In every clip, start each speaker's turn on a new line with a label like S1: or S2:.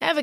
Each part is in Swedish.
S1: Ever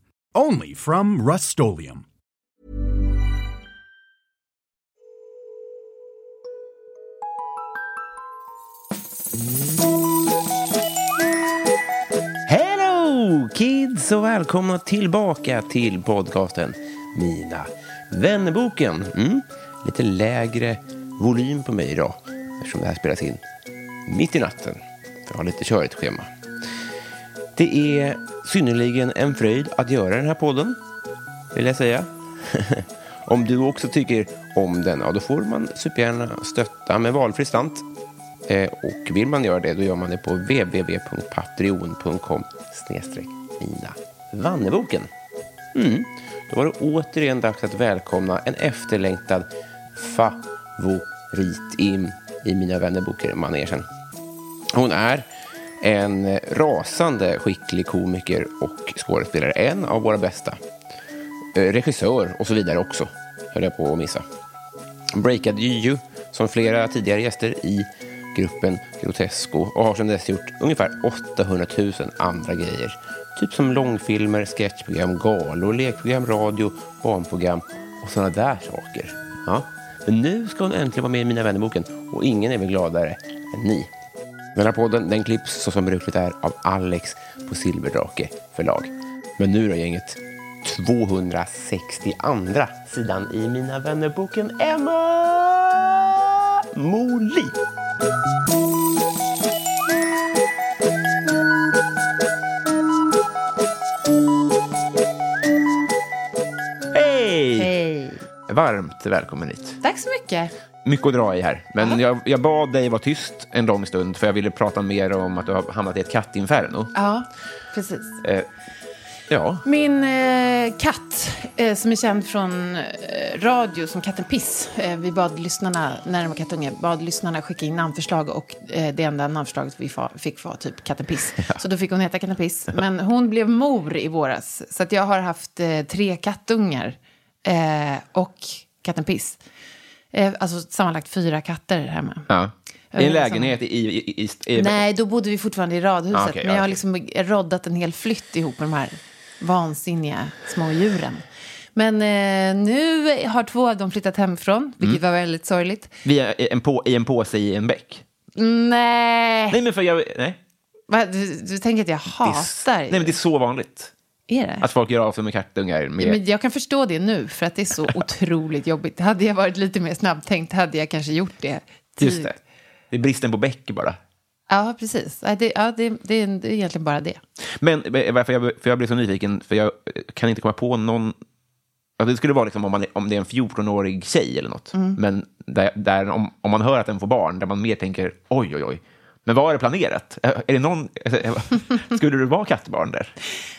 S2: Only from Rust
S3: Hello kids och välkomna tillbaka till podcasten Mina vännerboken. Mm. Lite lägre volym på mig idag eftersom det här spelas in mitt i natten. För jag har lite körigt schema. Det är synnerligen en fröjd att göra den här podden, vill jag säga. om du också tycker om den, ja, då får man supergärna stötta med valfri slant. Eh, och vill man göra det, då gör man det på www.patreon.com snedstreck Mina Vanneboken. Mm. Då var det återigen dags att välkomna en efterlängtad favorit in i Mina Vännerboken-manegen. Hon är en rasande skicklig komiker och skådespelare. En av våra bästa. Eh, Regissör och så vidare också, höll jag på att missa. Breakade ju som flera tidigare gäster i gruppen Grotesco och har sedan dess gjort ungefär 800 000 andra grejer. Typ som långfilmer, sketchprogram, galor, lekprogram, radio, barnprogram och sådana där saker. Ja. Men nu ska hon äntligen vara med i Mina vännerboken och ingen är väl gladare än ni. Den här podden den klipps så som brukligt är av Alex på Silverdrake förlag. Men nu då gänget, 260 andra sidan i Mina vännerboken Emma Moli. Hej!
S4: Hej.
S3: Varmt välkommen hit.
S4: Tack så mycket.
S3: Mycket att dra i här, men jag, jag bad dig vara tyst en lång stund för jag ville prata mer om att du har hamnat i ett kattinferno.
S4: Ja, precis.
S3: Eh, ja,
S4: Min eh, katt, eh, som är känd från eh, radio som katten Piss. Eh, vi bad lyssnarna, när den var kattunge, bad lyssnarna skicka in namnförslag och eh, det enda namnförslaget vi fa- fick var typ katten Piss. Så då fick hon heta katten Piss. Men hon blev mor i våras, så att jag har haft eh, tre kattungar eh, och katten Piss. Eh, alltså sammanlagt fyra katter hemma.
S3: ja.
S4: Jag
S3: I en
S4: vill
S3: lägenhet i... i, i, i, i
S4: Nej, då bodde vi fortfarande i radhuset.
S3: Ah, okej,
S4: men jag
S3: ja,
S4: har liksom roddat en hel flytt ihop med de här vansinniga små djuren. Men eh, nu har två av dem flyttat hemifrån, vilket
S3: Mm.
S4: var väldigt sorgligt.
S3: via en på, I en påse i en bäck.
S4: Nej,
S3: Nej, men för jag... Nej.
S4: Va, du, du tänker att jag
S3: Det är-
S4: hatar
S3: Nej, men det är så vanligt
S4: Är det?
S3: att folk gör av sig med kattungar. Med,
S4: Men jag kan förstå det nu, för att det är så otroligt jobbigt. Hade jag varit lite mer snabbtänkt hade jag kanske gjort det.
S3: just
S4: tidigt.
S3: det. Det är bristen på bäck bara.
S4: Ja, precis. Ja, det, ja, det, det, det är egentligen bara det.
S3: Men eh, varför jag, för jag blev så nyfiken, för jag eh, kan inte komma på någon... Ja, det skulle vara liksom om, man, om det är en 14-årig tjej eller något.
S4: Mm.
S3: Men där, där, om, om man hör att den får barn, där man mer tänker oj, oj, oj. Men vad är det planerat? Eh, Är det någon, skulle det vara kattbarn där?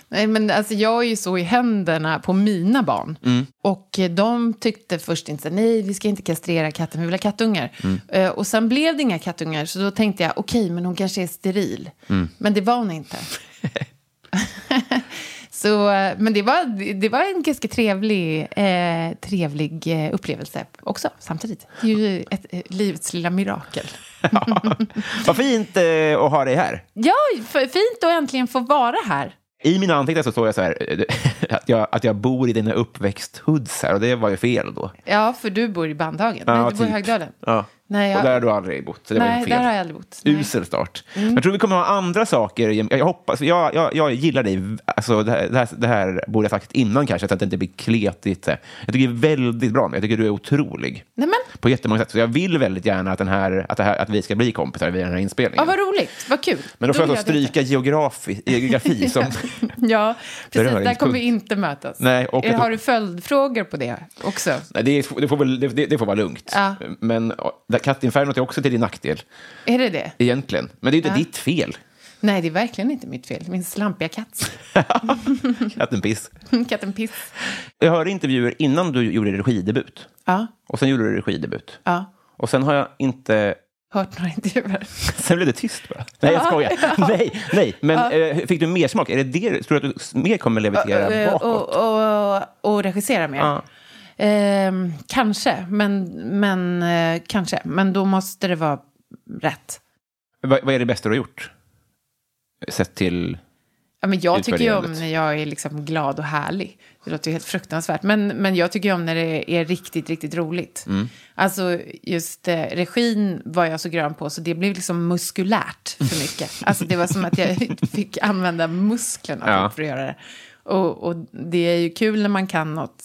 S4: Nej, men alltså, jag är ju så i händerna på mina barn. Och eh, de tyckte först inte, nej vi ska inte kastrera katten, vi vill ha kattungar. Eh, Och sen blev det inga kattungar, så då tänkte jag, okej men hon kanske är steril. Men det var hon inte. så, eh, men det var, det- det var en ganska trevlig, eh, trevlig eh, upplevelse också, samtidigt. Det är ju ett, eh, livets lilla mirakel.
S3: Ja. vad fint eh, att ha dig här.
S4: Ja, f- fint att äntligen få vara här.
S3: I mina anteckningar så står jag så här, eh, att jag, att jag bor i dina uppväxthoods här, och det var ju fel då.
S4: Ja, för du bor i Bandhagen.
S3: Ja,
S4: Nej, du bor i
S3: typ.
S4: Högdalen.
S3: Ja.
S4: Nej, jag-
S3: Och där har du aldrig bott. Så det var
S4: Nej,
S3: ju fel.
S4: där har jag aldrig bott. Nej.
S3: Usel start. Jag tror vi kommer ha andra saker. Jag, jag, hoppas, jag, jag, jag gillar dig. Alltså, det, här, det, här, det här borde jag sagt innan kanske, så att det inte blir kletigt. Jag tycker det är väldigt bra. Jag tycker du är otrolig.
S4: Nej, men,
S3: På jättemånga sätt. Så jag vill väldigt gärna att, den här, att, det här, att vi ska bli kompisar via den här
S4: ja,
S3: inspelningen.
S4: vad roligt, vad kul.
S3: Men då får jag liksom.
S4: vill
S3: då stryka geografi, geografi som...
S4: det. Ja, precis. Där
S3: Beröringspunkt.
S4: kommer vi inte mötas. Eh,
S3: Nej, och-
S4: Har du följdfrågor på det också?
S3: Nej, det, är- det, får väl, det, det får vara lugnt.
S4: Ja.
S3: Men ja, kattinfernot är också till din nackdel,
S4: Är det det?
S3: egentligen. Men det är ju inte
S4: Ja.
S3: ditt fel.
S4: Nej, det är verkligen inte mitt fel. Min slampiga katt.
S3: Katten piss.
S4: Katten Piss.
S3: Jag hörde intervjuer innan du gjorde regidebut.
S4: Ja,
S3: Och sen gjorde du regidebut.
S4: ja.
S3: Och sen har jag inte...
S4: Hört några intervjuer.
S3: Sen blev det tyst bara. Nej, jag
S4: Ja,
S3: skojar.
S4: ja.
S3: Nej, nej. Men eh, fick du mer smak? Är det det? du- Tror du att du mer kommer levitera
S4: Eh,
S3: bakåt?
S4: och, och, och regissera mer.
S3: Ja.
S4: Ehm, kanske, men, men eh, kanske. Men då måste det vara rätt.
S3: Vad, vad är det bästa du har gjort? Sett till...
S4: Ja, men jag tycker ju om
S3: Utvärderandet.
S4: när jag är liksom glad och härlig. Det låter ju helt fruktansvärt. Men, men jag tycker ju om när det är riktigt, riktigt roligt.
S3: Mm.
S4: Alltså just eh, regin var jag så grön på så det blev liksom muskulärt för mycket. Alltså det var som att jag fick använda musklerna
S3: Ja.
S4: typ, för att göra det. Och, och det är ju kul när man kan något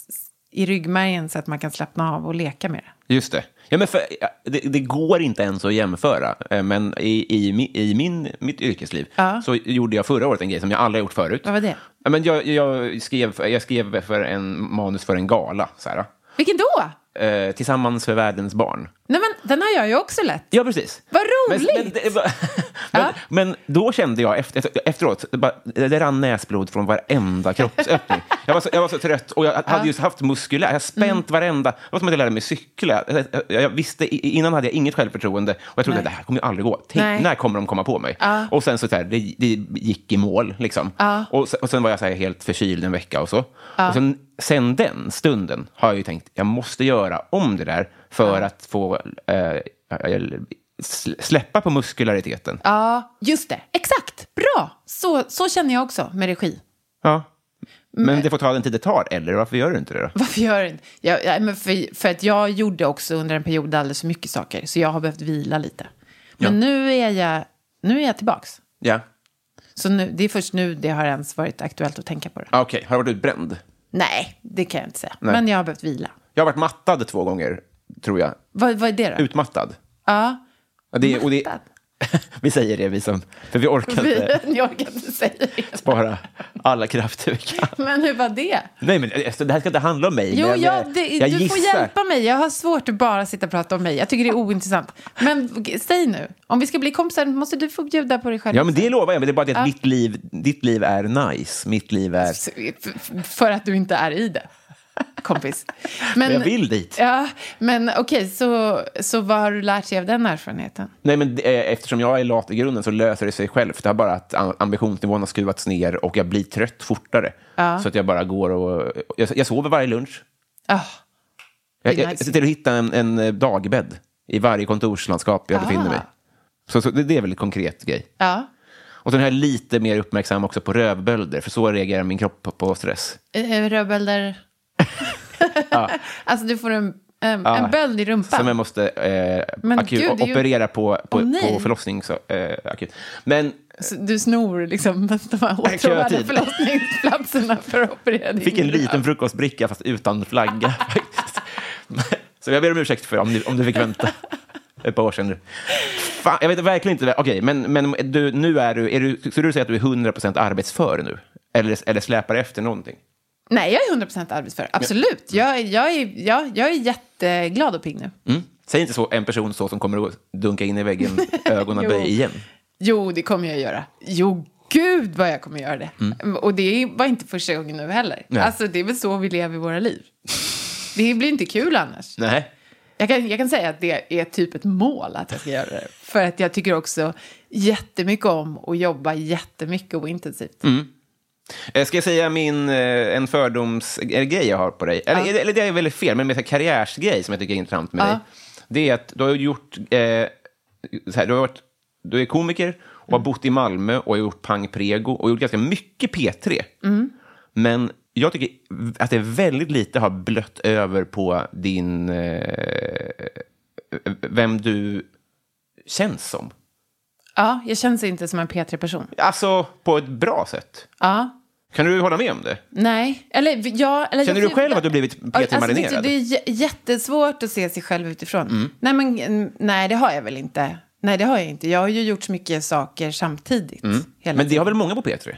S4: i ryggmärgen så att man kan slappna av och leka med det.
S3: Just det. Ja, men för, ja, det, det går inte ens att jämföra, eh, men i, i, mi- i min, mitt yrkesliv
S4: Ja.
S3: så gjorde jag förra året en grej som jag aldrig har gjort förut.
S4: Vad var det?
S3: Ja, men jag, jag, skrev, jag skrev för en manus för en gala, så här,
S4: Vilken då?
S3: eh, Tillsammans för världens barn.
S4: Nej men den har jag ju också lätt.
S3: Ja, precis.
S4: Vad roligt!
S3: Men, men, det var- men,
S4: Ja.
S3: men då kände jag efter, efteråt, det, bara, det rann näsblod från varenda kroppsöppning. jag, var så, jag var så trött och jag hade just haft muskulär, jag har spänt
S4: Mm.
S3: varenda... Det var som att jag lärde mig cykla. Jag, jag, jag visste, i- innan hade jag inget självförtroende och jag trodde
S4: Nej.
S3: att det här kommer ju aldrig gå. Tänk,
S4: Nej.
S3: när kommer de komma på mig?
S4: Ja.
S3: Och sen så där, det, det gick i mål liksom.
S4: Ja.
S3: Och, sen, och sen var jag så här helt förkyld en vecka och så. Och sen, sen den stunden har jag ju tänkt, jag måste göra om det där för att få eh, eller sl- släppa på muskulariteten.
S4: Ja, just det. Exakt. Bra. Så, så känner jag också med regi.
S3: Ja. Men det får ta den tid det tar, eller varför gör du inte det då?
S4: Varför gör jag inte? Jag, jag, men för, för att jag gjorde också under en period alldeles för mycket saker, så jag har behövt vila lite. Men
S3: Ja.
S4: nu är jag, nu är jag tillbaks.
S3: Ja.
S4: Så nu, det är först nu det har ens varit aktuellt att tänka på det.
S3: Ah, Okej, har du varit utbränd?
S4: Nej, det kan jag inte säga.
S3: Nej.
S4: Men jag har behövt vila.
S3: Jag har varit mattad två gånger, tror jag.
S4: Vad, vad är det då?
S3: Utmattad.
S4: Ja.
S3: Och det, och det,
S4: Mattad?
S3: vi säger det, vi som... För vi orkar inte
S4: Jag kan inte säga det.
S3: spara alla krafter vi kan.
S4: Men hur var det?
S3: Nej, men alltså, det här ska inte handla om mig.
S4: Jo,
S3: men eh,
S4: jag, det,
S3: jag
S4: du får
S3: gissar.
S4: hjälpa mig. Jag har svårt att bara sitta och prata om mig. Jag tycker det är ointressant. Men g- säg nu, om vi ska bli kompisar måste du få bjuda på dig själv.
S3: Ja, men det lovar jag. Men det är bara det att
S4: Ja.
S3: mitt, liv, ditt liv är nice. Mitt liv är...
S4: S- f- f- För att du inte är i det, kompis. Men,
S3: jag vill dit.
S4: Ja, men okej, så, så vad har du lärt dig av den erfarenheten?
S3: Nej, men eh, eftersom jag är lat i grunden så löser det sig självt. Det har bara att am- ambitionsnivån har skruvats ner och jag blir trött fortare. Så att jag bara går och... Jag, jag sover varje lunch.
S4: Ah,
S3: Jag,
S4: Det är
S3: jag, jag
S4: nice.
S3: ser till att hitta en, en eh, dagbädd i varje kontorslandskap jag
S4: Ah.
S3: befinner mig. Så, så det, det är väl en konkret grej.
S4: ja.
S3: Och sen är jag lite mer uppmärksam också på rövbölder, för så reagerar min kropp på, på stress.
S4: Eh, Rödbölder... alltså, du får en, en,
S3: Ja.
S4: en böld i rumpan.
S3: Som jag måste eh,
S4: Men
S3: akut,
S4: gud, det är ju-
S3: operera på, på,
S4: Åh, nej.
S3: på förlossning. Så, eh, akut. Men
S4: Så du snor liksom de här åtråvärda
S3: Kötid.
S4: förlossningsplatserna för att operera din
S3: fick en
S4: rumpa.
S3: liten frukostbricka fast utan flagga. faktiskt. så jag ber om ursäkt för om du, om du fick vänta ett par år sedan. nu. Fan, jag vet verkligen inte. Okej, men, men du, nu är du, är du... Skulle du säga att du är 100% arbetsför nu? Eller, eller släpar efter någonting?
S4: Nej, jag är 100% arbetsför. Absolut. Jag, är- jag, är, jag, jag är jätteglad och pigg nu.
S3: Mm. Säg inte så en person så som kommer att dunka in i väggen, ögonen
S4: Jo.
S3: böj igen.
S4: Jo, det kommer jag göra. Jo, gud vad jag kommer göra det. Och det var inte första gången nu heller.
S3: Mm. Nej.
S4: Alltså, det är väl så vi lever våra liv. Det blir inte kul annars.
S3: Nej.
S4: Jag kan, jag kan säga att det är typ ett mål att jag ska göra det. För att jag tycker också jättemycket om att jobba jättemycket och intensivt.
S3: Mm. Eh, Ska jag säga min, eh, en fördomsgrej jag har på dig? Eller, eller det är väldigt fel, men en så här karriärsgrej som jag tycker är intressant med
S4: Ja.
S3: dig. Det är att du har gjort... Eh, så här, du, har varit, du är komiker och har
S4: Mm.
S3: bott i Malmö och har gjort Pang Prego och gjort ganska mycket P3.
S4: Mm.
S3: Men jag tycker att det väldigt lite har blött över på din... Eh, eh, vem du känns som.
S4: Ja, jag känns inte som en P3-person.
S3: Alltså, på ett bra sätt.
S4: Ja,
S3: Kan du hålla med om det?
S4: nej. Eller, vi- ja, eller
S3: Känner
S4: jag
S3: du själv att du blivit
S4: Ja, alltså, det-
S3: P3-marinerad?
S4: Det är j- jättesvårt att se sig själv utifrån. Nej, men mm, nej, det har jag väl inte. Nej, det har jag inte. Jag har ju gjort så mycket saker samtidigt. Hela
S3: Mm. Men det
S4: tiden.
S3: har väl många på P3?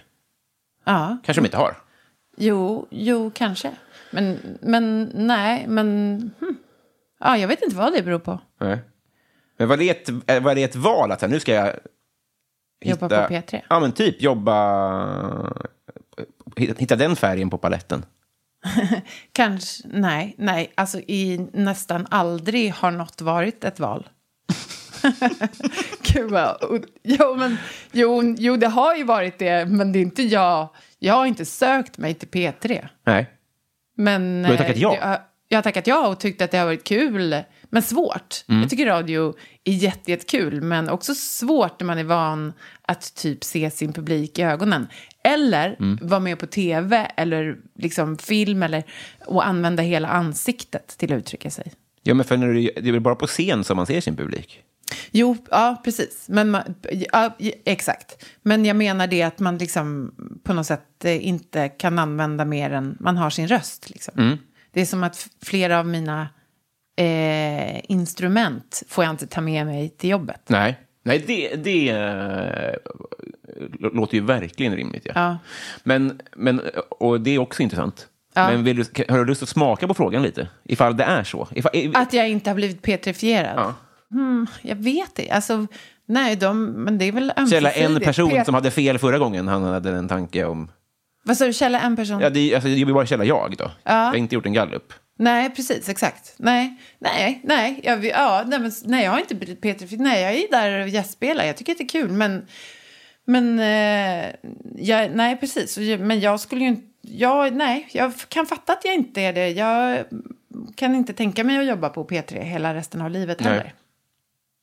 S4: Ja,
S3: Kanske de inte har.
S4: jo, jo, kanske. Men, men nej, men... hmm. Ja, jag vet inte vad det beror på.
S3: Nej. Men var det ett, eh, var det ett val att så här, nu ska jag...
S4: Jobba på P3?
S3: Ja, men typ jobba... hitta- Hitta den färgen på paletten.
S4: Kanske, nej, nej, alltså i nästan aldrig har något varit ett val. Gud vad, o- jo, men, jo, jo, det har ju varit det, men det är inte jag. Jag har inte sökt mig till P3.
S3: Nej.
S4: Men,
S3: har tackat
S4: eh,
S3: ja.
S4: det har- jag har tackat ja och tyckt att det har varit kul, men svårt.
S3: Mm.
S4: Jag tycker radio är jätte- jättekul, jätte men också svårt när man är van att typ se sin publik i ögonen. Eller
S3: Mm.
S4: vara med på tv eller liksom film eller, och använda hela ansiktet till att uttrycka sig.
S3: Ja, men för när du, det är väl bara på scen som man ser sin publik?
S4: Jo, ja, precis. Men man, ja, exakt. Men jag menar det att man liksom på något sätt eh, inte kan använda mer än man har sin röst. Liksom.
S3: Mm.
S4: Det är som att f- flera av mina eh, instrument får jag inte ta med mig till jobbet.
S3: Nej. Nej, det, det eh, låter ju verkligen rimligt. Ja.
S4: Ja.
S3: Men, men, och det är också intressant. Men vill du, har du lust att smaka på frågan lite? Ifall det är så? Ifall, i-
S4: Att jag inte har blivit petrifierad.
S3: Ja.
S4: Hmm, jag vet inte. Alltså, nej, de, men det är väl
S3: Källa en
S4: ömsesidigt.
S3: person
S4: Pet-
S3: som hade fel förra gången han hade en tanke om...
S4: Vad sa du? Källa en person?
S3: Ja, det, är- alltså, det är ju bara källa jag då. Jag har inte gjort en gallup.
S4: Nej, precis, exakt. Nej, nej, nej. Jag, vill- ja, nej, men, nej jag har inte blivit Peter Nej, jag är där och gästspelar. Jag tycker att det är kul, men... Men... Eh, jag, nej, precis. Och jag- Men jag skulle ju inte... Jag, nej, jag kan fatta att jag inte är det. Jag kan inte tänka mig att jobba på P3 hela resten av livet
S3: Nej.
S4: heller.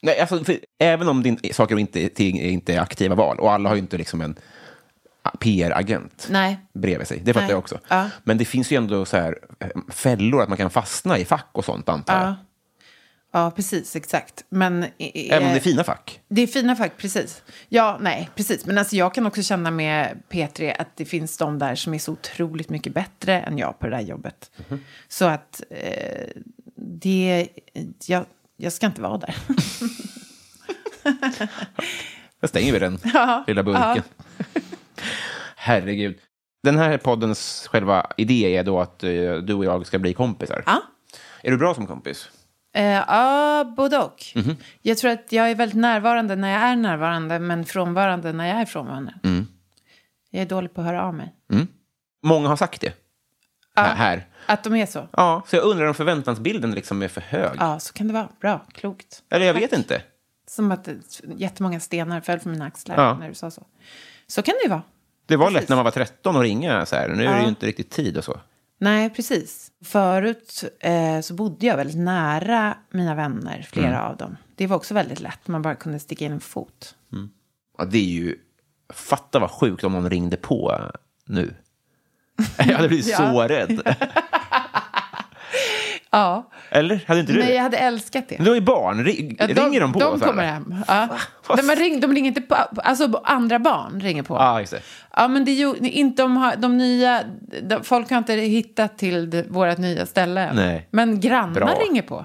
S3: Nej, alltså, för, även om din, saker och inte, ting inte är aktiva val, och alla har ju inte liksom en PR-agent
S4: Nej.
S3: bredvid sig, det fattar
S4: Nej.
S3: jag också.
S4: Ja.
S3: Men det finns ju ändå så här, eh, fällor att man kan fastna i fack och sånt, antar jag.
S4: Ja. ja, precis, exakt. Men... eh,
S3: Även om det är fina fack.
S4: Det är fina fack, precis. Ja, nej, precis. Men alltså jag kan också känna med P3 att det finns de där som är så otroligt mycket bättre än jag på det där jobbet. Så att eh, det... Jag, jag ska inte vara där.
S3: Då stänger vi den
S4: Ja,
S3: lilla burken. Herregud. Den här poddens själva idé är då att eh, du och jag ska bli kompisar.
S4: Ja,
S3: Är du bra som kompis?
S4: eh, ja både och. Jag tror att jag är väldigt närvarande när jag är närvarande men frånvarande när jag är frånvarande. Jag är dålig på att höra av mig.
S3: Många har sagt det. Här, här.
S4: Att de är så?
S3: Ja, så jag undrar om förväntansbilden liksom är för hög.
S4: Ja, så kan det vara. Bra, klokt.
S3: Eller jag vet inte.
S4: Som att det- jättemånga stenar föll från mina axlar
S3: Ja.
S4: när du sa så. Så kan det ju vara.
S3: Det var lätt när man var 13 att ringa så här. Nu är det ju inte riktigt tid och så.
S4: Nej, precis. Förut eh, så bodde jag väldigt nära mina vänner, flera
S3: Mm.
S4: av dem. Det var också väldigt lätt, man bara kunde sticka in en fot.
S3: Ja, det är ju... Fatta vad sjukt om någon ringde på nu. Jag hade blivit så rädd.
S4: Ja,
S3: Eller? Hade inte du
S4: men
S3: det?
S4: jag hade älskat det.
S3: Men De är barn. Ring,
S4: Ja,
S3: ringer de på?
S4: De
S3: så här?
S4: kommer hem. Ja. Nej, men ring, de ringer inte på, alltså andra barn ringer på.
S3: Ja, just det.
S4: Ja, men det är ju inte de, har, de nya... De, folk har inte hittat till det, vårt nya ställe. än.
S3: Nej.
S4: Men grannar
S3: Bra.
S4: ringer på.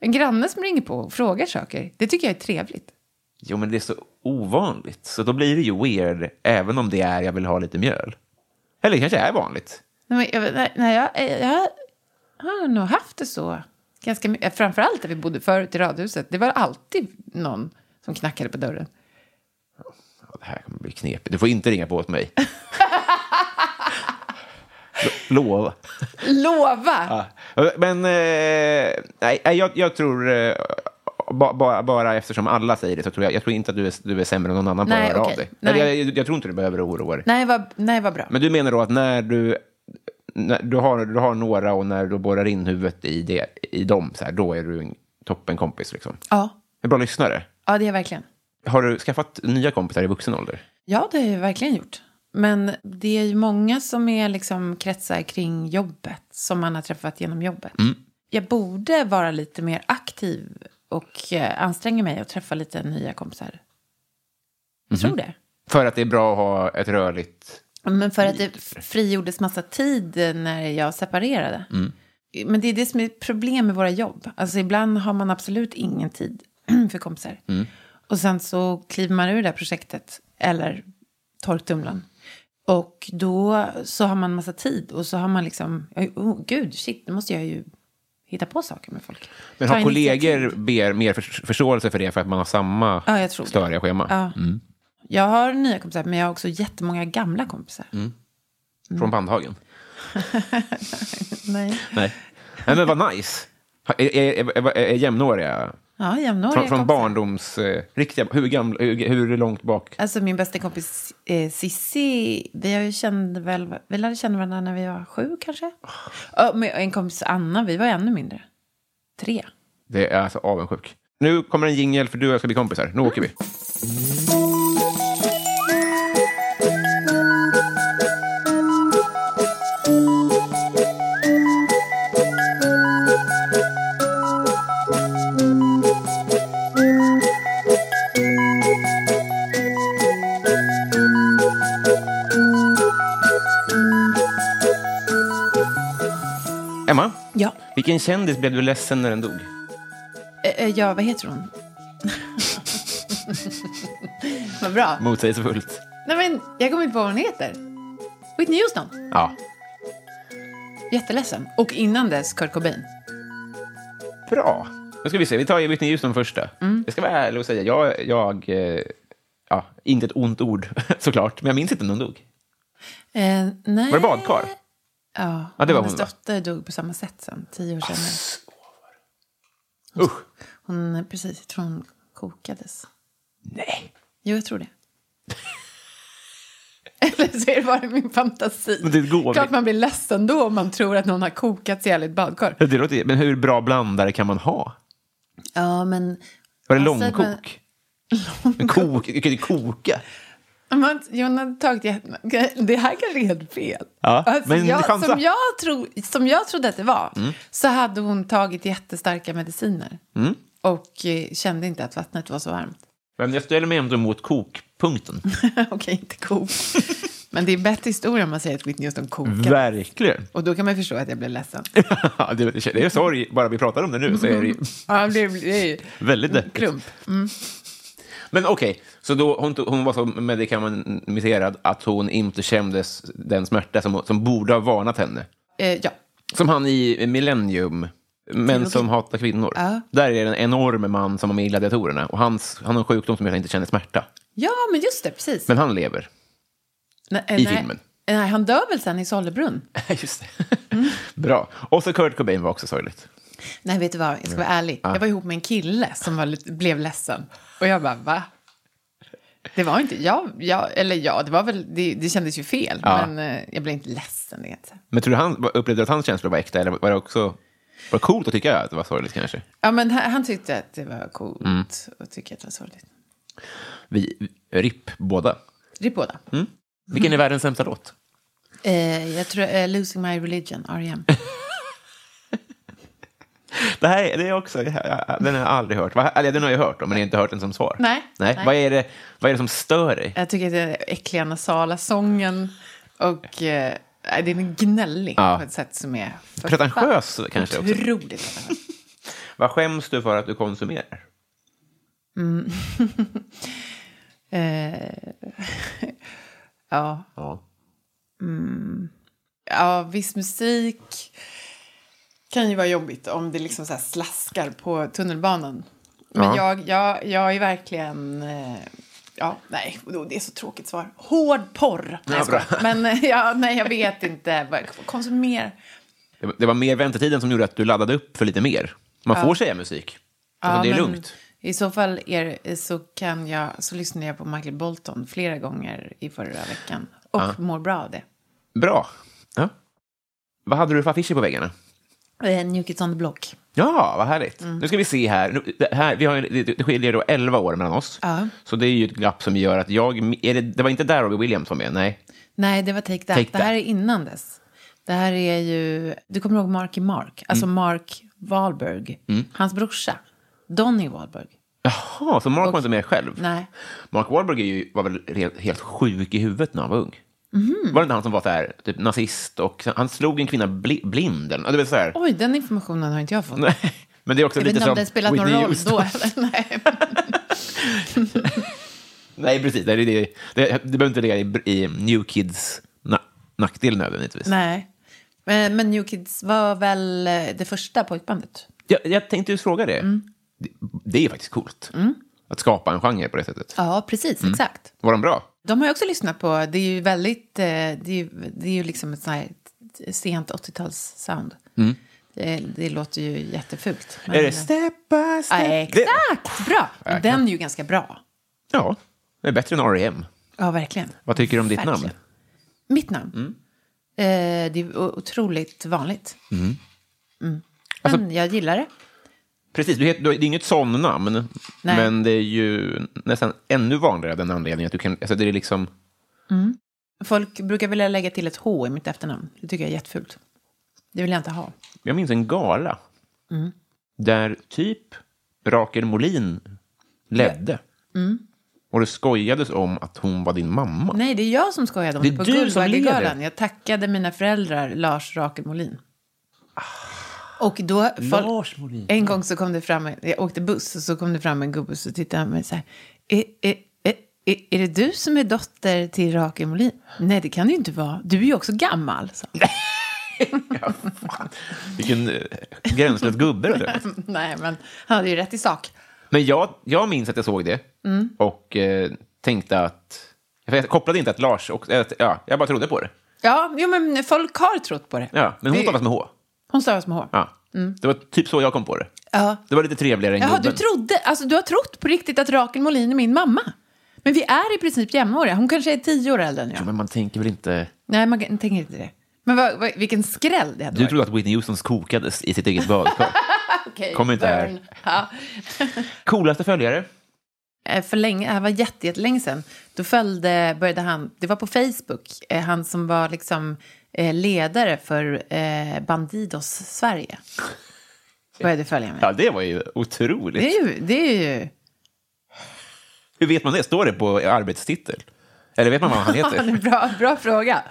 S4: En granne som ringer på och frågar saker. Det tycker jag är trevligt.
S3: Jo, men det är så ovanligt. Så då blir det ju weird, även om det är jag vill ha lite mjöl. Eller det kanske är vanligt.
S4: Nej, men jag, nej, nej, jag, eh, jag har nog haft det så. Ganska, my- eh, framförallt där vi bodde förut i radhuset. Det var alltid någon som knackade på dörren.
S3: Ja, det här kommer bli knepigt. Du får inte ringa på åt mig. Lo- Lova.
S4: Lova!
S3: Ja. Men eh, nej, nej, jag, jag tror, eh, ba, ba, bara eftersom alla säger det, så tror jag, jag tror inte att du är, du är sämre än någon annan på
S4: Nej,
S3: att höra
S4: okej.
S3: av dig.
S4: Nej.
S3: Eller Jag, jag tror inte du behöver oroa dig.
S4: Nej, vad, nej, vad bra.
S3: Men du menar då att när du, när du, har, du har några och när du borrar in huvudet i, det, i dem, så här, då är du en toppenkompis. Liksom.
S4: Ja,
S3: En bra lyssnare.
S4: ja, det är jag verkligen.
S3: Har du skaffat nya kompisar i vuxen ålder?
S4: Ja, det har jag verkligen gjort. Men det är ju många som är liksom kretsar kring jobbet, som man har träffat genom jobbet. jag borde vara lite mer aktiv och eh, anstränga mig och träffa lite nya kompisar. Jag tror det.
S3: För att det är bra att ha ett rörligt...
S4: Men för att det frigjordes massa tid när jag separerade.
S3: Mm.
S4: Men det är det som är problem med våra jobb. Alltså ibland har man absolut ingen tid för kompisar.
S3: Mm.
S4: Och sen så kliver man ur det här projektet eller torktumlaren. Och då så har man massa tid och så har man liksom, oh, gud, shit, nu måste jag ju hitta på saker med folk.
S3: Men
S4: Ta
S3: har kollegor
S4: initiativ.
S3: ber mer förs- förståelse för det för att man har samma
S4: Ja, jag tror det.
S3: störiga schema?
S4: Ja. Jag har nya kompisar, men jag har också jättemånga gamla kompisar.
S3: Mm.
S4: mm.
S3: Från Bandhagen?
S4: Nej.
S3: Nej. Nej, men vad nice. Ha- Är, är, är, är jämnåriga?
S4: Ja, jämnåriga
S3: Från,
S4: kompisar.
S3: från barndoms... Eh, riktiga, hur, gamla, hur, hur långt bak?
S4: Alltså min bästa kompis eh, Sissi, vi, har ju kände väl, vi lärde känna varandra när vi var sju kanske. Ja, men en kompis Anna, vi var ännu mindre. Tre.
S3: Det är alltså avundsjuk. Nu kommer en jingel för du och jag ska bli kompisar. Nu åker vi. Emma,
S4: Ja.
S3: vilken kändis blev du ledsen när den dog?
S4: Eh, eh, ja, vad heter hon? vad bra.
S3: Motsägelsefullt.
S4: Nej men, jag kommer inte på vad hon heter. Whitney Houston.
S3: Ja.
S4: Jätteledsen. Och innan dess Kurt Cobain.
S3: Bra. Nu ska vi se, vi tar Whitney Houston först. då. Jag ska vara ärlig och säga, jag... jag eh, ja, inte ett ont ord såklart, men jag minns inte när hon dog.
S4: Eh, nej.
S3: Var det badkar?
S4: Ja,
S3: Ja, det var
S4: hennes
S3: hon, va?
S4: dotter dog på samma sätt sen, tio år senare.
S3: Usch.
S4: Hon, eh, precis, jag tror hon kokades.
S3: Nej.
S4: Jo, jag tror det. Eller så är det bara min fantasi.
S3: Men det går
S4: Klart
S3: väl.
S4: man blir ledsen då om man tror att någon har kokats ihjäl i ett badkar.
S3: Det låter, men hur bra blandare kan man ha?
S4: Ja, men...
S3: Var det
S4: Alltså, men-
S3: långkok? Kok, kan det koka?
S4: Man, Jon har tagit jätte- Det här kanske är helt fel.
S3: Ja,
S4: alltså,
S3: men
S4: jag,
S3: chansa. Mm.
S4: som, jag tro, som jag trodde att det var så hade hon tagit jättestarka mediciner
S3: Mm.
S4: och eh, kände inte att vattnet var så varmt.
S3: Men jag ställer mig ändå mot kokpunkten.
S4: Okej, inte kok. men det är en bättre historia om man säger att Whitney Houston kokade.
S3: Verkligen.
S4: Och då kan man ju förstå att jag blev ledsen.
S3: Ja, det, det är sorg, bara vi pratar om det nu så är det ju
S4: Ja, det blir ju
S3: väldigt deppigt.
S4: klump.
S3: Men okej, så då, hon, tog, hon var så medikamentiserad att hon inte kändes den smärta som, som borde ha varnat henne.
S4: Eh, ja.
S3: Som han i Millennium, Män som hatar kvinnor.
S4: Ja.
S3: Där är det en enorm man som var med i Gladiatorerna. Och hans, han har en sjukdom som gör att han inte känner smärta.
S4: ja, men just det, precis.
S3: Men han lever.
S4: nej, eh,
S3: i
S4: nej.
S3: filmen.
S4: Nej, han dör väl sen i Sollebrunn?
S3: Just det. Mm. Bra. Och så Kurt Cobain var också sorgligt.
S4: Nej, vet du vad, jag ska vara ärlig. Jag var ihop med en kille som var, lite- blev ledsen. Och jag bara, va? Det var inte, jag, jag eller ja, det var väl, det, det kändes ju fel.
S3: Ja.
S4: Men eh, jag blev inte ledsen, det kan jag inte säga.
S3: Men tror du han upplevde du att hans känslor var äkta? Eller var det också... Var det coolt att tycka att det var sorgligt kanske?
S4: Ja, men han, han tyckte att det var coolt
S3: Mm.
S4: och tyckte att det var sorgligt.
S3: Vi, RIP båda.
S4: Det är båda.
S3: Mm. Vilken är världens sämsta låt?
S4: Eh, jag tror, eh, Losing My Religion, E R.E.M.
S3: Det här är- det är också, den har jag aldrig hört. Va- Eller den har jag hört, men jag har inte hört den som svar.
S4: Nej.
S3: Nej.
S4: Nej.
S3: Vad, är det, vad är det som stör dig?
S4: Jag tycker att den äckliga nasala sången och eh, nej, den är gnällig
S3: Ja.
S4: på ett sätt som är...
S3: Pretentiös kanske också.
S4: Otroligt pretentiös.
S3: Vad skäms du för att du konsumerar?
S4: Mm. Eh, ja.
S3: Ja.
S4: ja, viss musik kan ju vara jobbigt om det liksom så här slaskar på tunnelbanan. Men
S3: Ja.
S4: jag, jag, jag är verkligen... eh, Ja, nej, och det är så tråkigt svar. Hård porr! Nej, jag
S3: Ja, bra.
S4: skojar. Men eh, ja, nej, jag vet inte. vad jag Konsumerar.
S3: Det var- Det var mer väntetiden som gjorde att du laddade upp för lite mer. Man får säga musik. Alltså,
S4: Ja,
S3: det är
S4: men
S3: lugnt.
S4: I så fall är, så, kan jag, så lyssnade jag på Michael Bolton flera gånger i förra veckan och mår bra av det.
S3: Bra. Ja. Vad hade du för affischer på väggarna?
S4: Eh, New Kids on the Block.
S3: Ja, vad härligt.
S4: Mm.
S3: Nu ska vi se här. Nu, det, här vi har, ju- det, det skiljer då 11 år mellan oss.
S4: Ja.
S3: Så det är ju ett glapp som gör att jag... Är det, det var inte där Robbie Williams var med? Nej.
S4: Nej, det var Take That.
S3: Take
S4: det här
S3: That. Mm.
S4: är innan dess. Det här är ju... Du kommer ihåg Marky Mark? Alltså Mark Wahlberg, hans brorsa, Donny Wahlberg.
S3: Jaha, så Mark var inte med själv?
S4: Nej.
S3: Mark Wahlberg är ju, var väl helt, helt sjuk i huvudet när han var ung?
S4: Mhm.
S3: Var det inte han som var så här, typ nazist och han slog en kvinna bli, blind? Eller, Ja, det var så här.
S4: Oj, den informationen har inte jag fått.
S3: Nej, men det är också
S4: jag vet
S3: lite
S4: inte
S3: som
S4: om den spelat någon
S3: Whitney
S4: roll
S3: Houston.
S4: då. Eller? Nej.
S3: Nej, precis. Det, är det, det, det behöver inte ligga i, i New Kids na, nackdel nödvändigtvis.
S4: Nej. Men, men New Kids var väl eh, det första pojkbandet?
S3: Jag, jag tänkte just fråga det.
S4: Mm.
S3: det. Det är ju faktiskt coolt att skapa en genre på det sättet.
S4: Ja, precis. Exakt.
S3: Var de bra?
S4: Mm. De har jag också lyssnat på. Det är ju väldigt... eh, Det är ju, det är ju liksom ett sånt här sent 80-tals-sound. Det, det låter ju jättefult. men-
S3: Mm. Är
S4: eh,
S3: det step by
S4: Ja,
S3: step? Det,
S4: exakt! Bra! Och den är ju ganska bra.
S3: ja, det är bättre än R.E.M.
S4: Ja, verkligen.
S3: Vad tycker du om ditt
S4: Verkligen.
S3: namn?
S4: Mitt namn?
S3: Mm.
S4: Eh, det är o- otroligt vanligt. Mm. Men
S3: Alltså-
S4: jag gillar det.
S3: Precis, du heter, du- det är inget sån namn,
S4: Nej.
S3: men det är ju nästan ännu vanligare av den anledningen att du kan... Alltså det är liksom...
S4: Folk brukar vilja lägga till ett H i mitt efternamn. Det tycker jag är jättefult. Det vill jag inte ha.
S3: Jag minns en gala
S4: Mm.
S3: där typ Rakel Molin ledde.
S4: Mm.
S3: Och det skojades om att hon var din mamma.
S4: Nej, det är jag som skojade om
S3: Det är
S4: det på
S3: du som
S4: Guldbaggegalan.
S3: leder.
S4: Jag tackade mina föräldrar Lars Rakel Molin.
S3: Ah.
S4: Och då, folk-
S3: Lars Molin.
S4: en gång så kom det fram, en- jag åkte buss och så kom det fram en gubbe och så tittade han på mig så här. Är, är, är, är, är det du som är dotter till Rakel Molin? Nej, det kan det ju inte vara. Du är ju också gammal. Så.
S3: Ja, fan. Vilken eh, gränslös gubbe det är.
S4: Nej, men han hade ju rätt i sak.
S3: Men jag, jag minns att jag såg det
S4: Mm.
S3: och eh, tänkte att... för Jag kopplade inte att Lars... Och, eh, att- ja, jag bara trodde på det.
S4: Ja, jo, men folk har trott på det.
S3: Ja, men hon
S4: Det-
S3: stavas med H.
S4: Hon stavas med H.
S3: Ja. Det var typ så jag kom på det.
S4: Ja.
S3: Det var lite trevligare än
S4: Jaha, du
S3: gubben.
S4: trodde, alltså du har trott på riktigt att Rakel Molin är min mamma. Men vi är i princip jämnåriga. Hon kanske är tio år äldre än jag.
S3: Ja, men man tänker väl inte...
S4: Nej, man kan- tänker inte det. Men vad, vad, vilken skräll det hade
S3: Du
S4: varit.
S3: trodde att Whitney Houston kokades i sitt eget badkar.
S4: Okej,
S3: kom inte här.
S4: burn. Ja.
S3: Coolaste följare?
S4: Eh, För länge, det här var jätte- jättelänge sedan. Då följde, började han, det var på Facebook, eh, han som var liksom eh, ledare för eh, Bandidos Sverige. Började följa mig.
S3: Ja, det var ju otroligt.
S4: Det är ju, det är ju
S3: Hur vet man det? Står det på arbetstitel? Eller vet man vad han
S4: Ja, det är
S3: heter?
S4: en bra, bra fråga.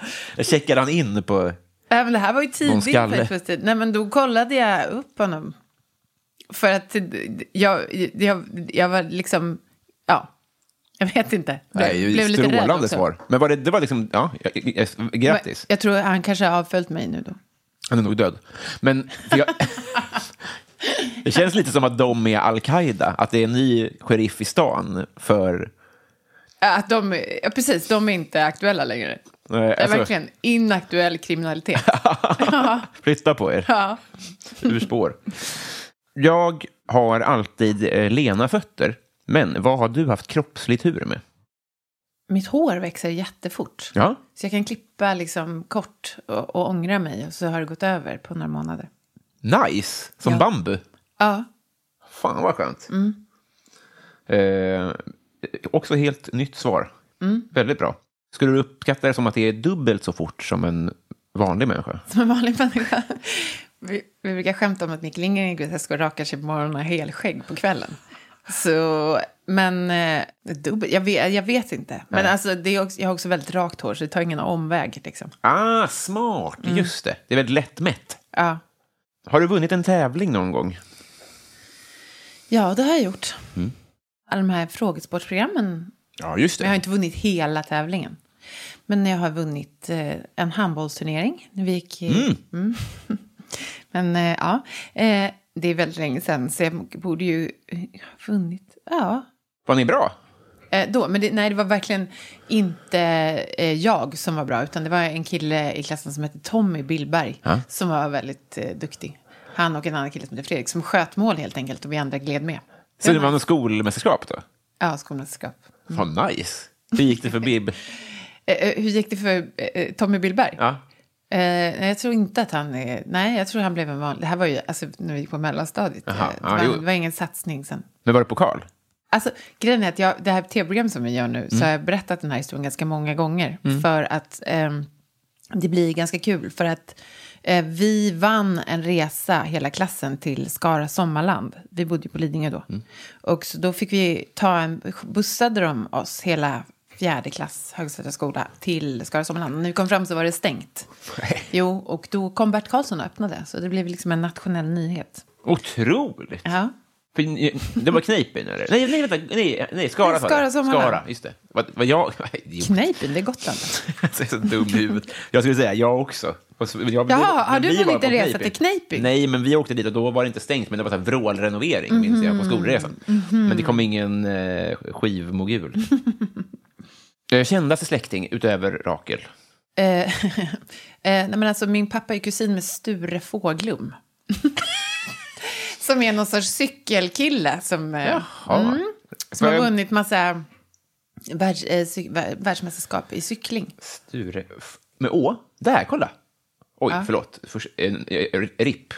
S3: Checkar han in på...
S4: Nej, men det här var ju
S3: Någon
S4: tidigt.
S3: skalle.
S4: Facebooks tid. Nej, men då kollade jag upp honom. För att jag, jag, jag var liksom... Ja, jag vet inte. Blev-
S3: Nej,
S4: blev lite rädd
S3: strålande
S4: också.
S3: svar. Men var det, det var liksom... Ja, jag- jag- jag- grattis.
S4: Men Jag tror han kanske har avföljt mig nu då.
S3: Han är nog död. Men... för Jag, det känns lite som att de är al-Qaida. Att det är en ny sheriff i stan för...
S4: Äh, Att de, ja, precis, de är inte aktuella längre.
S3: Nej,
S4: Det är
S3: alltså-
S4: verkligen inaktuell kriminalitet.
S3: Flytta på er.
S4: ja.
S3: ur spår. Jag har alltid eh, lena fötter. Men vad har du haft kroppslig tur med?
S4: Mitt hår växer jättefort.
S3: Ja.
S4: Så jag kan klippa liksom kort och, och ångra mig och så har det gått över på några månader.
S3: Nice! Som
S4: Ja.
S3: bambu.
S4: Ja,
S3: Fan vad skönt.
S4: Mm.
S3: Eh, också helt nytt svar.
S4: Mm.
S3: Väldigt bra. Skulle du uppskatta det som att det är dubbelt så fort som en vanlig människa?
S4: som en vanlig människa. Vi, vi brukar skämta om att Micke Lindgren går till Tesco och rakar sig på morgonen och har helskägg på kvällen. Så, men eh, dubbel, jag, vet, jag vet inte. Men alltså, det är också, jag har också väldigt rakt hår så det tar ingen omväg. Liksom.
S3: Ah, smart!
S4: Mm.
S3: Just det. Det är väldigt lättmätt.
S4: Ja.
S3: Har du vunnit en tävling någon gång?
S4: ja, det har jag gjort. Alla de här frågesportprogrammen.
S3: Ja, just
S4: Jag har inte vunnit hela tävlingen. Men jag har vunnit eh, en handbollsturnering. när Vi gick, eh, mm. Men eh, ja, eh, det är väldigt länge sedan så jag borde ju eh, ha vunnit. Ja,
S3: Var ni bra?
S4: Eh, då, men det, nej, det var verkligen inte eh, jag som var bra, utan det var en kille i klassen som hette Tommy Billberg som var väldigt eh, duktig. Han och en annan kille som hette Fredrik som sköt mål helt enkelt och vi andra gled med.
S3: Så det var något skolmästerskap då?
S4: Ja, skolmästerskap.
S3: Mm. Fan, nice! Hur gick det för Bib?
S4: Eh, eh, hur gick det för eh, eh, Tommy Billberg?
S3: Ja.
S4: Eh, nej, jag tror inte att han är... Nej, jag tror han blev en vanlig... Det här var ju alltså, när vi gick på mellanstadiet.
S3: Aha,
S4: Eh, det,
S3: ja, jo.
S4: var, det var ingen satsning sen.
S3: Men var det pokal?
S4: Alltså, grejen är att jag, det här tv-programmet som vi gör nu, så har jag berättat den här historien ganska många gånger. För att ehm, det blir ganska kul. För att Eh, vi vann en resa, hela klassen, till Skara sommarland. Vi bodde ju på Lidingö då. Och så då fick vi ta en, bussade de oss hela fjärde klass, Högsätra skola, till Skara sommarland. När vi kom fram så var det stängt.
S5: Nej.
S4: Jo, och då kom Bert Karlsson och öppnade. Så det blev liksom en nationell nyhet.
S3: Otroligt!
S4: Ja.
S3: För ni- Det var Kneipen, eller? Nej, nej, vänta. Nej, nej Skara sa
S4: Skara
S3: jag.
S4: som alla.
S3: Skara, just det. Vad, vad jag... Idiot.
S4: Kneipen, det är Gotland.
S3: Jag är så dum i huvudet. Jag skulle säga jag också. Och så- men Jag,
S4: Jaha,
S3: men
S4: har du
S3: vi
S4: vunnit
S3: var på
S4: en resa till Kneipen?
S3: Nej, men vi åkte dit och då var det inte stängt, men det var så här vrålrenovering, minns jag, på
S4: Mm-hmm.
S3: skolresan. Men det kom ingen eh, skivmogul. Eh, Kändaste släkting utöver Rakel?
S4: Eh, eh, nej men alltså, min pappa är kusin med Sture Fåglum. som är någon sorts cykelkille som, eh,
S3: Jaha.
S4: som har
S3: Vem?
S4: vunnit massa världs, eh, cy- vär- världsmästerskap i cykling.
S3: Sture... F- Med Å? Där, kolla! Oj, förlåt. Förs- en- eh, RIP.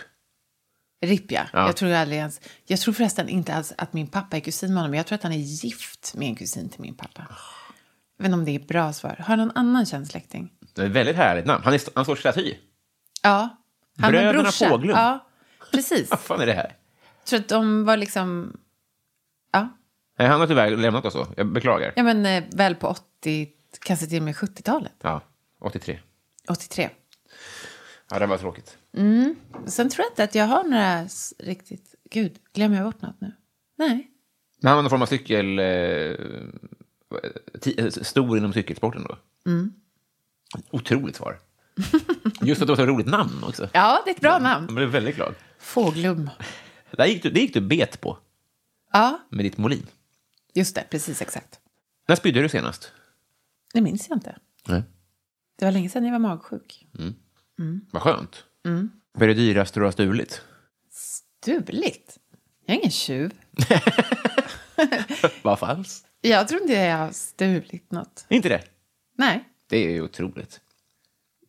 S4: Ripp, ja.
S3: Ja.
S4: Jag, tror aldrig ens, jag tror förresten inte alls att min pappa är kusin med honom. men Jag tror att han är gift med en kusin till min pappa. Jag vet inte om det är ett bra svar. Har någon annan känd släkting?
S3: Det är ett väldigt härligt namn. Han är st- han står staty.
S4: Ja. Han har en
S3: Bröderna
S4: brorsa.
S3: Fåglum.
S4: Ja, precis.
S3: Vad fan är det här?
S4: tror att de var liksom... Ja,
S3: Nej, han har tyvärr lämnat oss då. Jag beklagar.
S4: ja men eh, väl på 80, kanske till och med 70-talet.
S3: Ja, 83.
S4: 83.
S3: Ja, det var tråkigt.
S4: Sen tror jag inte att jag har några s- riktigt... Gud, glömmer jag bort något nu? Nej.
S3: Men han var någon form av cykel... Eh, ti- eh, stor inom cykelsporten då.
S4: Mm.
S3: Otroligt svar. Just att det var så roligt namn också.
S4: Ja, det är ett bra
S3: Jag
S4: namn.
S3: blev väldigt glad.
S4: Fåglum.
S3: Där gick du, det gick du bet på
S4: Ja,
S3: med ditt molin.
S4: just det. Precis exakt.
S3: När spydde du senast?
S4: Det minns jag inte.
S3: Nej.
S4: Det var länge sedan jag var magsjuk.
S3: Vad skönt.
S4: Mm.
S3: Vad är det dyraste du har stulit?
S4: Stuligt. Jag är ingen tjuv.
S3: Vad fanns?
S4: Jag tror inte jag har stulit något.
S3: Inte det?
S4: Nej.
S3: Det är ju otroligt.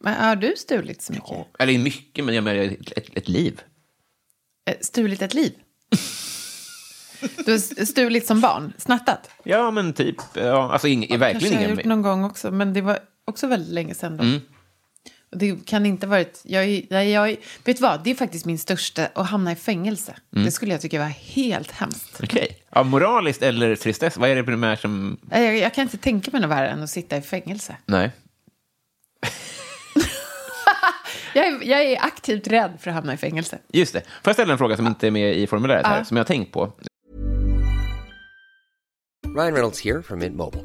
S4: Men har du stulit så mycket?
S3: Eller mycket, men jag menar ett, ett, ett liv.
S4: Eh, Stulit ett liv? Du har s- stulit som barn? Snattat?
S3: Ja, men typ. Ja, alltså ing, verkligen
S4: Kanske jag har
S3: ingen...
S4: gjort
S3: Mm.
S4: någon gång också, men det var också väldigt länge sedan då. Och det kan inte ha varit... Jag, är- nej, jag, är- vet du vad, det är faktiskt min största, att hamna i fängelse.
S3: Mm.
S4: Det skulle jag tycka var helt hemskt.
S3: Okej. Ja, moraliskt eller tristess, vad är det primärt som...
S4: Nej, Jag, jag kan inte tänka mig något värre än att sitta i fängelse.
S3: Nej.
S4: Jag är, jag är aktivt rädd för att hamna i fängelse.
S3: Just det. Får jag ställa en fråga som inte är med i formuläret här, som jag har tänkt på?
S6: Ryan Reynolds here from Mint Mobile.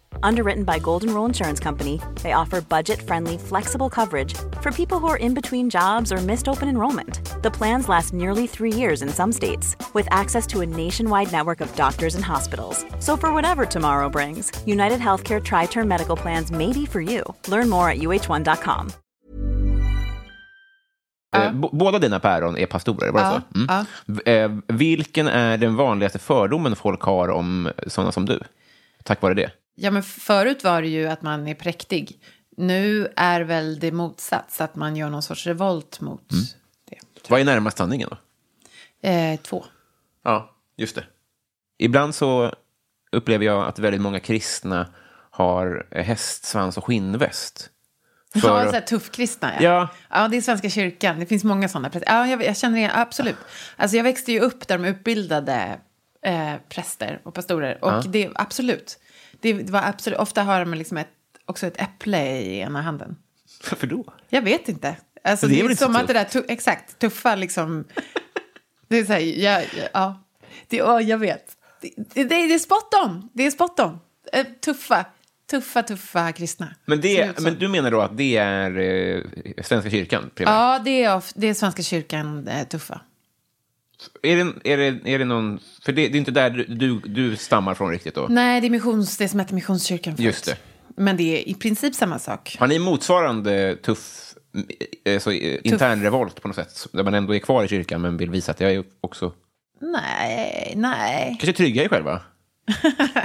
S7: Underwritten by Golden Rule Insurance Company, they offer budget friendly, flexible coverage for people who are in between jobs or missed open enrollment. The plans last nearly three years in some states, with access to a nationwide network of doctors and hospitals. So, for whatever tomorrow brings, United Healthcare Tri Term Medical Plans may be for you. Learn more at uh1.com.
S3: Eh, b- båda dina päron är pastorer, var det
S4: Ja,
S3: så? Mm.
S4: ja.
S3: V- Eh, vilken är den vanligaste fördomen folk har om sådana som du? Tack vare det.
S4: Ja, men förut var det ju att man är präktig. Nu är väl det motsats, att man gör någon sorts revolt mot det.
S3: Vad är närmast sanningen då? Mm.
S4: Eh, två.
S3: Ja, just det. Ibland så upplever jag att väldigt många kristna har hästsvans och skinnväst. För-
S4: Ja, så här tuffkristna. Ja.
S3: Ja.
S4: ja, det är Svenska kyrkan. Det finns många sådana präster. Ja, jag, jag känner igen, absolut. Alltså, jag växte ju upp där de utbildade eh, präster och pastorer. Och det, absolut. Det, det var absolut. Ofta har de liksom ett, också ett äpple i ena handen.
S3: Varför då?
S4: Jag vet inte. Alltså,
S3: Men det är
S4: det är,
S3: väl inte
S4: som
S3: så
S4: att det där, tu- exakt, tuffa liksom. det är så här, ja, ja, ja. Det, ja jag vet. Det, det, det är spot on. Det är spot on. Eh, Tuffa, tuffa, tuffa kristna.
S3: Men,
S4: Ser ut
S3: det,
S4: som.
S3: men du menar då att det är eh, Svenska kyrkan? primärt?
S4: Ja, det är, of- det är Svenska kyrkan eh, tuffa.
S3: Är det, är det, är det någon... För det, det är inte där du, du, du stammar från riktigt då?
S4: Nej, det är missions, det som heter Missionskyrkan förut.
S3: Just det.
S4: Men det är i princip samma sak.
S3: Har ni motsvarande tuff, eh, så, eh, intern revolt på något sätt? Där man ändå är kvar i kyrkan men vill visa att jag är också...
S4: Nej, nej.
S3: Kanske trygga er själva?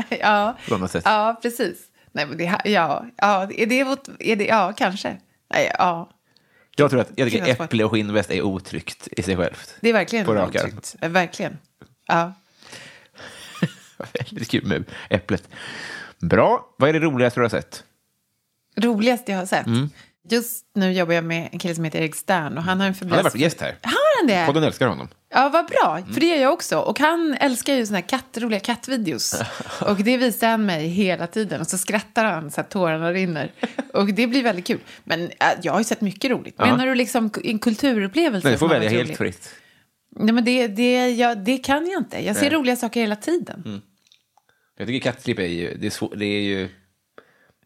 S4: ja.
S3: På något sätt.
S4: ja, precis. Nej, men det, här- ja, ja, är det vårt, är det, ja, kanske. Nej, ja,
S3: Jag tror att jag tycker
S4: Kvinnans
S3: äpple och skinnväst är otryggt i sig självt.
S4: det är verkligen
S3: På rak arm.
S4: otryggt. Eh, Verkligen. Ja.
S3: Väldigt kul med äpplet. Bra. Vad är det roligaste du har sett?
S4: Roligaste jag har sett.
S3: Mm.
S4: Just nu jobbar jag med en kille som heter Erik Stern och han har
S3: Han har
S4: en förbläst...
S3: varit gäst här.
S4: Har han det?
S3: Podden älskar honom.
S4: Ja, vad bra.
S3: Mm.
S4: För det gör jag också. Och han älskar ju såna här katt, roliga kattvideos. Och det visar han mig hela tiden. Och så skrattar han så att tårarna rinner. Och det blir väldigt kul. Men äh, jag har ju sett mycket roligt. Menar du liksom k- en kulturupplevelse?
S3: Nej, du får
S4: som har
S3: välja
S4: varit
S3: helt
S4: rolig?
S3: fritt.
S4: Nej, men det, det, jag, det kan jag inte. Jag ser roliga saker hela tiden.
S3: Jag tycker kattklipp är ju... Det är, svår, det är ju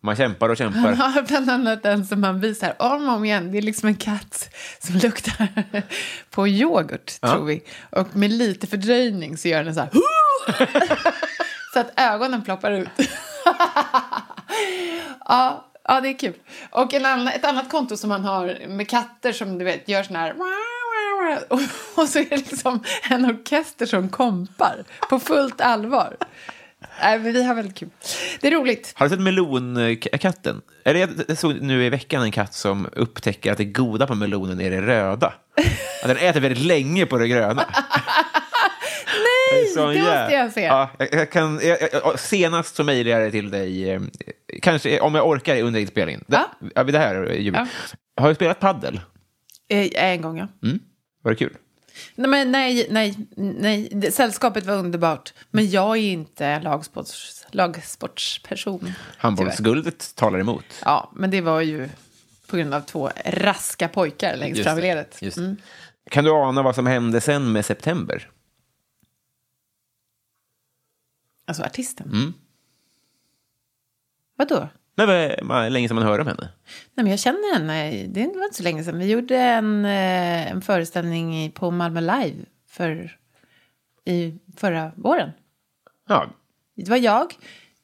S3: man kämpar och kämpar.
S4: Han har bland annat en som han visar om och om igen. Det är liksom en katt som luktar på yoghurt, tror vi. Och med lite fördröjning så gör den så här... så att ögonen ploppar ut. ja, ja, det är kul. Och en annan, ett annat konto som han har med katter som du vet gör sån här... Och, och så är det liksom en orkester som kompar på fullt allvar. Nej, men vi har väldigt kul. Det är roligt.
S3: Har du sett melonkatten? Är det, jag såg nu i veckan en katt som upptäcker att det goda på melonen är det röda. Att den äter väldigt länge på det gröna.
S4: Nej,
S3: Så
S4: det måste
S3: jä-
S4: jag se.
S3: Ja, jag, jag kan, jag, jag, senast så mejlar jag det till dig, eh, kanske eh, om jag orkar under inspelningen. Det,
S4: Ja.
S3: ja. vid det här är jul.
S4: Ja.
S3: Har du spelat paddel?
S4: Eh, En gång, ja.
S3: Mm. Var det kul?
S4: Nej, men nej, nej, nej. Det- Sällskapet var underbart. Men jag är inte lagsports, lagsportsperson. tyvärr.
S3: Handbollsguldet talar emot.
S4: Ja, men det var ju på grund av två raska pojkar längst
S3: Just
S4: fram i
S3: det,
S4: ledet.
S3: just det. Kan du ana vad som hände sen med september?
S4: Alltså artisten.
S3: Mm.
S4: Vadå?
S3: Nej, vad- vad länge sedan man hör om henne.
S4: Nej, men jag känner henne. Det var inte så länge sedan. Vi gjorde en, eh, en föreställning i- på Malmö Live för, i förra våren.
S3: Ja,
S4: Det var jag,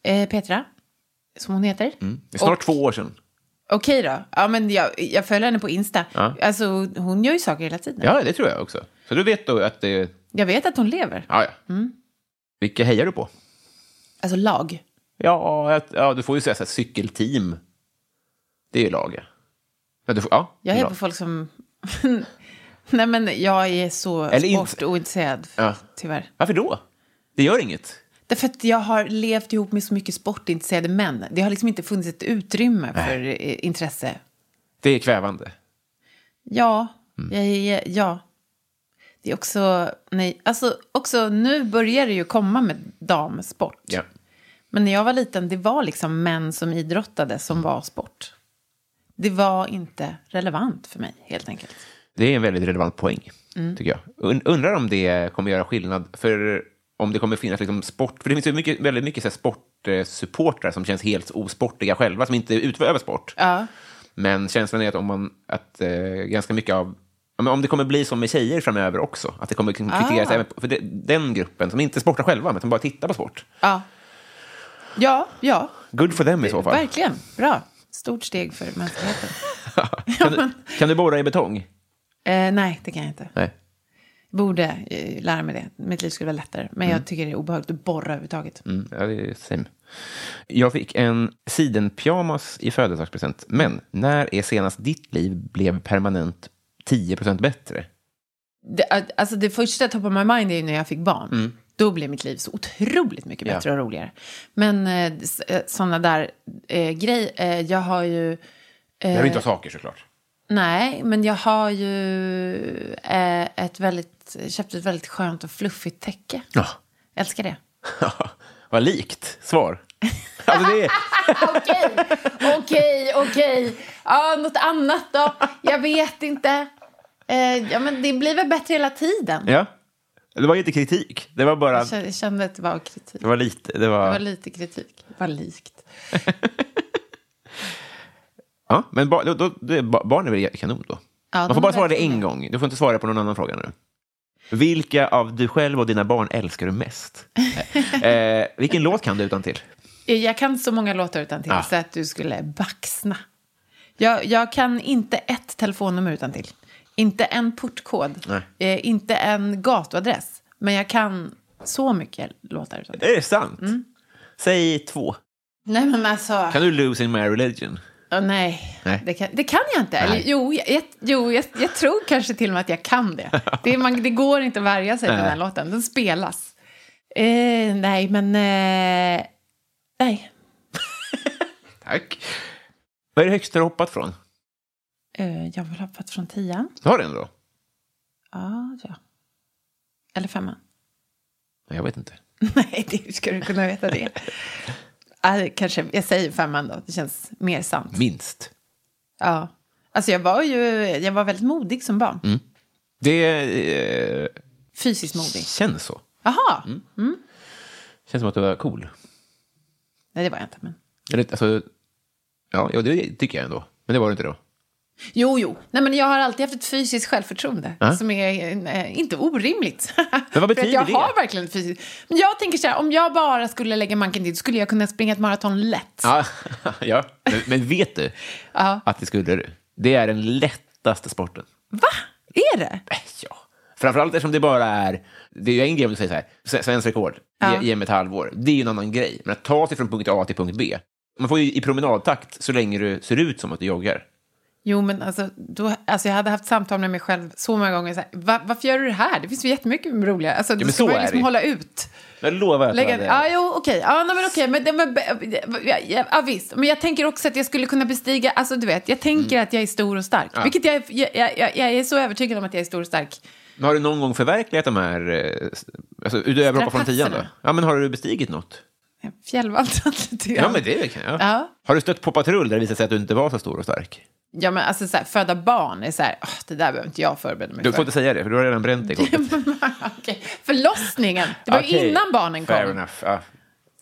S4: eh, Petra, som hon heter.
S3: det är snart
S4: Och-
S3: två år sedan.
S4: Okej då. Ja, men jag, jag följer henne på Insta.
S3: Ja.
S4: Alltså, hon gör ju saker hela tiden.
S3: Ja, det tror jag också. Så du vet då att det...
S4: Jag vet att hon lever.
S3: Ja, ja. Vilka hejar du på?
S4: Alltså lag.
S3: Ja, jag- ja du får ju säga så här, cykelteam. Det är ju laget. Ja, du får, ja,
S4: Jag är
S3: lag.
S4: på folk som... Nej, men jag är så
S3: Eller inte.
S4: sportointresserad,
S3: Ja.
S4: tyvärr.
S3: Varför då? Det gör inget.
S4: Därför att jag har levt ihop med så mycket sportintresserade män. Det har liksom inte funnits ett utrymme för eh, intresse.
S3: Det är kvävande.
S4: Ja,
S3: Mm.
S4: jag är, ja. Det är också... Nej, alltså också nu börjar det ju komma med damsport.
S3: Ja.
S4: Men när jag var liten, det var liksom män som idrottade som var sport. Det var inte relevant för mig, helt enkelt.
S3: Det är en väldigt relevant poäng,
S4: Mm.
S3: tycker jag. Und- Undrar om det kommer göra skillnad, för om det kommer finnas liksom sport... För det finns ju mycket, väldigt mycket så här sportsupportrar som känns helt osportiga själva, som inte utövar sport.
S4: Ja.
S3: Men känslan är att, om man, att eh, ganska mycket av... ja, men Om det kommer bli som med tjejer framöver också, att det kommer liksom kritiseras
S4: Ah.
S3: även på- för det, den gruppen som inte sportar själva, men som bara tittar på sport.
S4: Ja, ja, ja
S3: Good for them i så fall.
S4: verkligen. Bra. Stort steg för mänskligheten.
S3: kan, du, kan du borra i betong?
S4: Eh, nej, det kan jag inte.
S3: Nej.
S4: Borde eh, lära mig det. Mitt liv skulle vara lättare. Men jag tycker det är obehagligt att borra överhuvudtaget.
S3: Mm, ja, det är same. Jag fick en sidenpyjamas i födelsedagspresent. Men när är senast ditt liv blev permanent 10 bättre?
S4: Det, alltså det första top of my mind är ju när jag fick barn.
S3: Mm.
S4: Då blev mitt liv så otroligt mycket bättre och roligare. Men eh, s- eh, såna där eh, grejer, eh, jag har ju... eh,
S3: Jag vill inte ha saker såklart.
S4: Nej, men jag har ju eh, ett väldigt, köpt ett väldigt skönt och fluffigt täcke.
S3: Ja.
S4: Jag älskar det.
S3: Vad likt svar. Alltså det är,
S4: Okej, okej, okej. Ja, något annat då? Jag vet inte. Eh, ja, men det blir väl bättre hela tiden.
S3: ja. Det var ju inte kritik. Det var bara...
S4: Jag kände- Jag kände att det var kritik.
S3: Det var lite... Det var,
S4: Alltså- Det var lite kritik. Det var likt.
S3: ja, men ba, då, då, det, ba- barn är väl kanon då?
S4: Ja,
S3: Man
S4: de
S3: får bara
S4: är
S3: svara det
S4: verkligen
S3: en gång. Du får inte svara på någon annan fråga nu. Vilka av du själv och dina barn älskar du mest? eh, vilken låt kan du utan till?
S4: Eh, Jag kan så många låtar utan till
S3: Ah.
S4: så att du skulle baxna. Jag, jag kan inte ett telefonnummer utan till. Inte en portkod.
S3: Nej.
S4: Eh, inte en gatuadress. Men jag kan så mycket låtar utan till.
S3: Är det sant?
S4: Mm.
S3: Säg två.
S4: Nej, men alltså...
S3: Kan du Losing My Religion?
S4: Åh, nej,
S3: Nej.
S4: Det, kan, det kan jag inte. Eller,
S3: Nej.
S4: jo, jag, jag- jo jag, jag tror kanske till och med att jag kan det. Det, man, det går inte att värja sig för den här låten. Den spelas. Eh, nej, men... Eh, nej.
S3: Tack. Vad är det högsta du har hoppat från?
S4: Eh, jag har väl hoppat från tian.
S3: Du har den då?
S4: Ja, ja. Eller femman.
S3: Nej, jag vet inte.
S4: Nej, det, hur ska du kunna veta det? Ah, kanske, jag säger femman då. Det känns mer sant.
S3: Mm. Minst.
S4: Ja. Alltså, jag var ju jag var väldigt modig som barn.
S3: Mm. Det eh,
S4: Fysiskt modig.
S3: känns så.
S4: Jaha!
S3: Mm. Känns som att du var cool.
S4: Nej, det var jag inte. Men...
S3: Eller, alltså, ja, jo, det tycker jag ändå. Men det var du inte då.
S4: Jo, jo. Nej, men jag har alltid haft ett fysiskt självförtroende som är eh, inte orimligt. För att
S3: betyder
S4: jag
S3: det?
S4: har verkligen ett fysiskt... Men jag tänker så här, om jag bara skulle lägga manken dit skulle jag kunna springa ett maraton lätt.
S3: Ja, ja. Men, men vet du att det skulle du? Det är den lättaste sporten.
S4: Va? Är det?
S3: Äh, Ja. Framförallt eftersom det bara är... Det är ju en grej om du säger så här, "Sve- svensk rekord i, i ett halvår. Det är ju en annan grej. Men att ta sig från punkt A till punkt B. Man får ju i promenadtakt så länge du ser ut som att du joggar.
S4: Jo, men alltså, då, alltså jag hade haft samtal med mig själv så många gånger. Så här, "Va, varför gör du det här? Det finns ju jättemycket roligare. Alltså, då
S3: men
S4: ska
S3: så
S4: man ju
S3: är
S4: liksom
S3: det ju.
S4: hålla ut.
S3: Jag lovar att
S4: Lägga,
S3: jag
S4: ah,
S3: hade...
S4: jo, okej. Ah, nej, men okej. Men, det- men, be- ja, ja, ja, visst. Men jag tänker också att jag skulle kunna bestiga... Alltså, du vet, jag
S3: Mm.
S4: tänker att jag är stor och stark. Vilket jag, är- jag, jag, jag, jag är så övertygad om att jag är stor och stark.
S3: Men Har du någon gång förverkligat de här... eh, s- Alltså, utöver att hoppa från tian då?
S4: Strapatserna.
S3: Ja, men har du bestigit något?
S4: Fjällvandrat lite
S3: Ja,
S4: grann.
S3: men det kan jag.
S4: Ja.
S3: Har du stött på patrull där det visar sig att du inte var så stor och stark?
S4: Ja, men alltså så här, föda barn är så här, "Åh, det där behöver inte jag förbereda mig
S3: Du
S4: för.
S3: får inte säga det, för du har redan bränt dig. kortet.
S4: Okej. Förlossningen, det var ju
S3: Okej.
S4: innan barnen
S3: Fair
S4: kom.
S3: enough. Ja.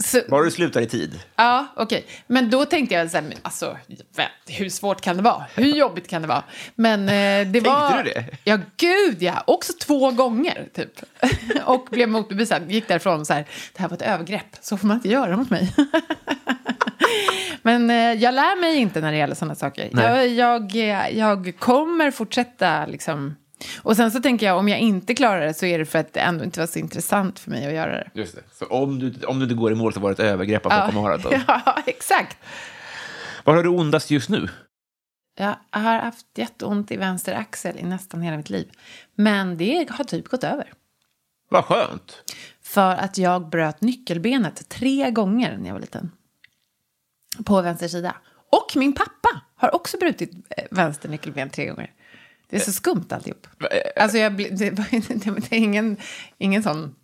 S4: Så,
S3: Bara du slutar i tid.
S4: ja, okej. Men då tänkte jag så här, men alltså, vä- hur svårt kan det vara? Hur jobbigt kan det vara? Men eh, det var...
S3: du det?
S4: Ja, gud ja. Också två gånger, typ. Och blev motbevisad. Gick därifrån så här, det här var ett övergrepp. Så får man inte göra mot mig. Men eh, jag lär mig inte när det gäller sådana saker. Jag, jag, eh, jag kommer fortsätta liksom. Och sen så tänker jag om jag inte klarar det så är det för att det ändå inte var så intressant för mig att göra det.
S3: Just det. Så om du, om du inte går i mål så var det ett övergrepp att hoppa maraton.
S4: ja, exakt.
S3: Var har du ondast just nu?
S4: Jag har haft jätteont i vänster axel i nästan hela mitt liv. Men det har typ gått över.
S3: Vad skönt.
S4: För att jag bröt nyckelbenet tre gånger när jag var liten. På vänster sida. Och min pappa har också brutit eh, vänster nyckelben tre gånger. Det är så skumt alltihop. Alltså jag, bli- det, var- det, var- det är ingen, ingen sån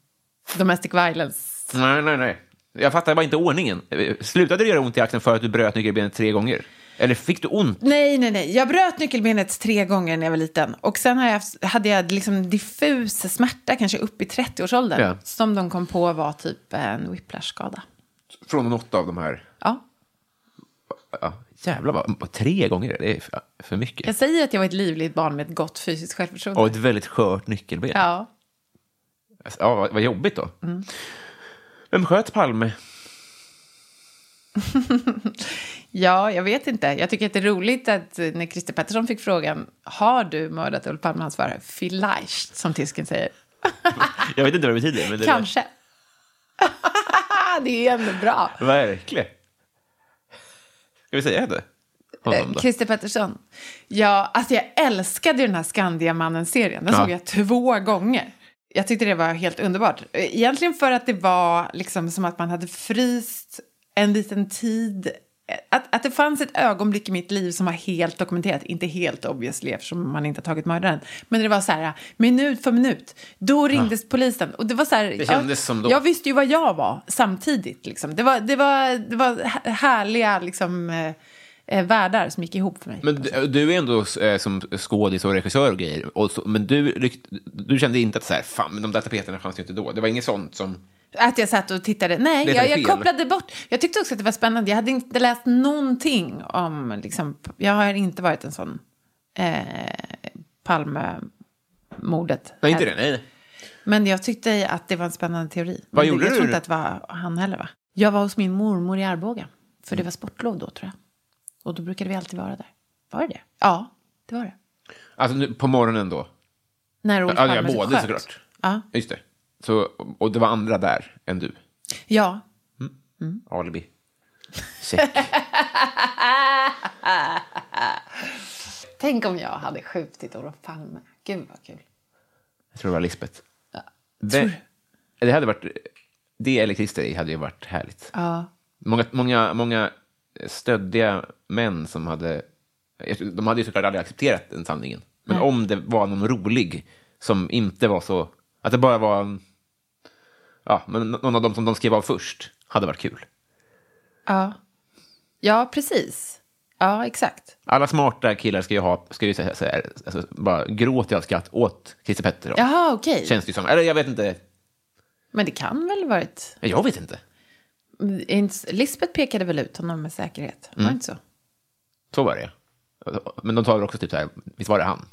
S4: domestic violence.
S3: Nej, nej, nej. Jag fattar bara inte ordningen. Eh, Slutade det göra ont i axeln för att du bröt nyckelbenet tre gånger? Eller fick du ont?
S4: Nej, nej, nej. Jag bröt nyckelbenet tre gånger när jag var liten. Och sen har jag haft, hade jag liksom diffus smärta, kanske upp i 30-årsåldern.
S3: Ja.
S4: Som de kom på var typ en whiplash-skada.
S3: Från något av de här?
S4: Ja.
S3: Ja. Jävlar, vad, tre gånger? Det är för- för mycket.
S4: Jag säger att jag var ett livligt barn med ett gott fysiskt självförtroende.
S3: Och ett väldigt skört nyckelben. Alltså,
S4: Ja. Mm.
S3: Ja, vad, vad jobbigt då. Vem sköt Palme?
S4: Ja, jag vet inte. Jag tycker att det är roligt att eh, när Christer Pettersson fick frågan har du mördat Olof Palme, han svarar vielleicht, som tysken säger.
S3: Jag vet inte vad det betyder. Men det
S4: Kanske. det är ändå bra.
S3: Är, verkligen. Ska vi säga det? Honom
S4: Eh,
S3: då?
S4: Christer Pettersson. Ja, alltså jag älskade ju den här Skandiamannen-serien. Den
S3: Ja.
S4: såg jag två gånger. Jag tyckte det var helt underbart. Eh, Egentligen för att det var liksom som att man hade fryst en liten tid. Eh, Att, att det fanns ett ögonblick i mitt liv som var helt dokumenterat. Inte helt obviously eftersom man inte har tagit mördaren. Men det var så här minut för minut. Då ringdes polisen. Och det var så här. Det
S3: kändes
S4: jag,
S3: som då.
S4: Jag visste ju vad jag var samtidigt. Liksom. Det, var, det, var, det var hä- härliga liksom, eh, eh, världar som gick ihop för mig.
S3: Men du- du är ändå eh, som skådis och regissör och grejer. Och så, men du, lyck- du kände inte att så här, fan, men de där tapeterna fanns ju inte då. Det var inget sånt som...
S4: Att jag satt och tittade. Nej,
S3: Letade
S4: jag, jag
S3: fel.
S4: kopplade bort. Jag tyckte också att det var spännande. Jag hade inte läst någonting om... Liksom, jag har inte varit en sån eh, Palmemordet.
S3: Nej, inte det. Nej.
S4: Men jag tyckte att det var en spännande teori.
S3: Vad
S4: Men
S3: gjorde
S4: det, jag
S3: du då?
S4: tror inte att det var han heller, va? Jag var hos min mormor i Arboga, för
S3: Mm.
S4: det var sportlov då, tror jag. Och då brukade vi alltid vara där. Var det det? Ja, det var det.
S3: Alltså nu, på morgonen då?
S4: När Olof
S3: Ja, det
S4: Palme
S3: är både
S4: sköt.
S3: såklart.
S4: Ja.
S3: Just det. Så, och det var andra där än du?
S4: ja,
S3: Alibi. Check.
S4: tänk om jag hade skjutit Olof Palme. Gud vad kul.
S3: Jag tror det var Lisbeth. Det, det hade varit... Det eller Christer hade ju varit härligt.
S4: Ja.
S3: Många, många, många stöddiga män som hade... De hade ju såklart aldrig accepterat den sanningen. Men om det var någon rolig som inte var så... Att det bara var... en- Ja, men någon av dem som de skrev av först hade varit kul.
S4: Ja. ja, precis. Ja, exakt.
S3: Alla smarta killar ska ju ha, ska ju säga så här, alltså, bara gråta av skratt åt Christer Pettersson.
S4: Jaha, okej.
S3: Känns det ju som. Eller jag vet inte.
S4: Men det kan väl varit...
S3: Jag vet inte.
S4: är inte- Lisbeth pekade väl ut honom med säkerhet?
S3: Mm.
S4: Var det inte så?
S3: Så var det. Men de tar väl också typ så här, visst var det han?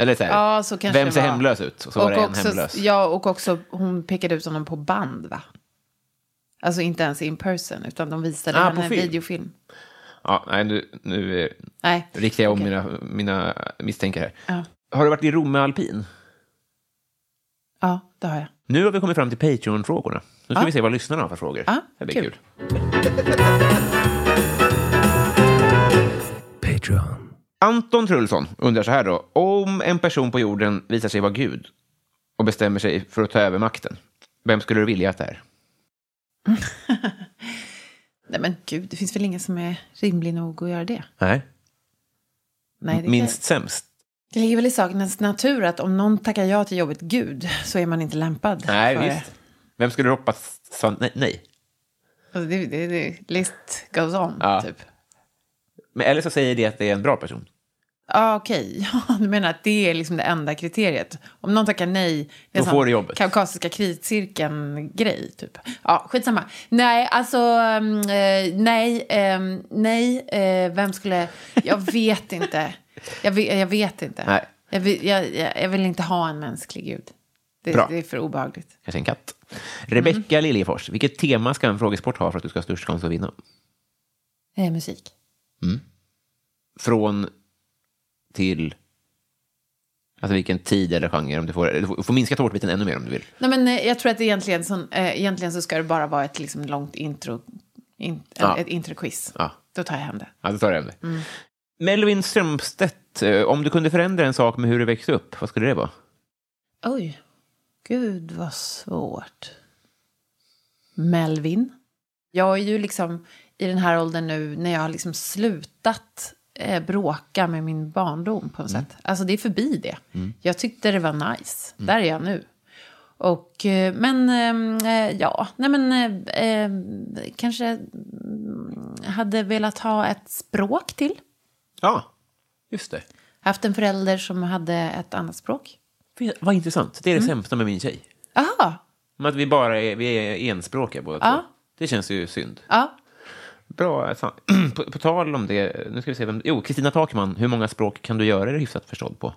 S3: Eller så här,
S4: Ja, så kanske
S3: vem
S4: det
S3: ser
S4: var.
S3: hemlös ut? Och så var det en
S4: också,
S3: hemlös.
S4: Ja, och också hon pekade ut honom på band, va? Alltså inte ens in person, utan de visade
S3: Ah,
S4: henne
S3: på
S4: en
S3: film.
S4: videofilm.
S3: Ja, nej, nu, nu eh,
S4: Nej.
S3: riktar jag om
S4: Okej.
S3: mina, mina misstänkare här.
S4: Ja.
S3: Har du varit i Romme Alpin?
S4: Ja, det har jag.
S3: Nu har vi kommit fram till Patreon-frågorna. Nu ska vi se vad lyssnarna har för frågor.
S4: Ja,
S3: det blir kul.
S4: kul.
S8: Patreon.
S3: Anton Trulsson undrar så här då. Om en person på jorden visar sig vara Gud och bestämmer sig för att ta över makten, vem skulle du vilja att det är?
S4: Nej men gud, det finns väl ingen som är rimlig nog att göra det?
S3: Nej.
S4: Nej, det,
S3: Minst sämst?
S4: det ligger väl i sakens natur att om någon tackar ja till jobbet Gud så är man inte lämpad
S3: Nej,
S4: för
S3: visst. Vem skulle du hoppas sa nej? nej?
S4: det. Alltså, det, det, det. List goes on,
S3: Ja.
S4: typ.
S3: Men, eller så säger det att det är en bra person.
S4: Ja, okej. Ja, du menar att det är liksom det enda kriteriet. Om någon tackar nej,
S3: Då
S4: det är en sån
S3: får du jobbet.
S4: kaukasiska kriscirkeln-grej, typ. Ja, skitsamma. Nej, alltså, mm, eh, nej, ehm, nej, eh, vem skulle... Jag vet inte. Jag vet, jag vet inte.
S3: Nej.
S4: Jag, vill, jag, jag, jag vill inte ha en mänsklig gud. Det,
S3: Bra.
S4: det är för obehagligt.
S3: Kanske en katt. Rebecka
S4: Mm.
S3: Liljefors, vilket tema ska en frågesport ha för att du ska ha störst chans att vinna? Mm.
S4: Eh, musik.
S3: Från till... Alltså vilken tid eller genre. Om du, får, du får- du får minska tårtbiten ännu mer om du vill.
S4: Nej, men eh, jag tror att det egentligen, sån, eh, egentligen så ska det bara vara ett liksom, långt intro, in, eh,
S3: Ja.
S4: ett introquiz.
S3: Ja.
S4: Då tar jag hem det.
S3: Ja, då tar jag hem det.
S4: Mm.
S3: Melvin Strömstedt, eh, om du kunde förändra en sak med hur du växte upp, vad skulle det vara?
S4: Oj. Gud, vad svårt. Melvin. Jag är ju liksom i den här åldern nu när jag har liksom slutat eh, bråka med min barndom på något sätt. Alltså det är förbi det. Jag tyckte det var nice. Där är jag nu. Och, eh, men ehm, eh, ja, nej men eh, eh, kanske mm, hade velat ha ett språk till.
S3: Ja, just det.
S4: Haft en förälder som hade ett annat språk.
S3: Vet- Vad intressant. Det är det
S4: Mm.
S3: sämsta med min tjej.
S4: Aha,
S3: Men Att vi bara är, vi är enspråkiga båda
S4: Ja.
S3: två. Det känns ju synd.
S4: ja.
S3: Bra. sa- På, på tal om det, nu ska vi se vem... Jo, Kristina Takman, hur många språk kan du göra dig hyfsat förstådd på?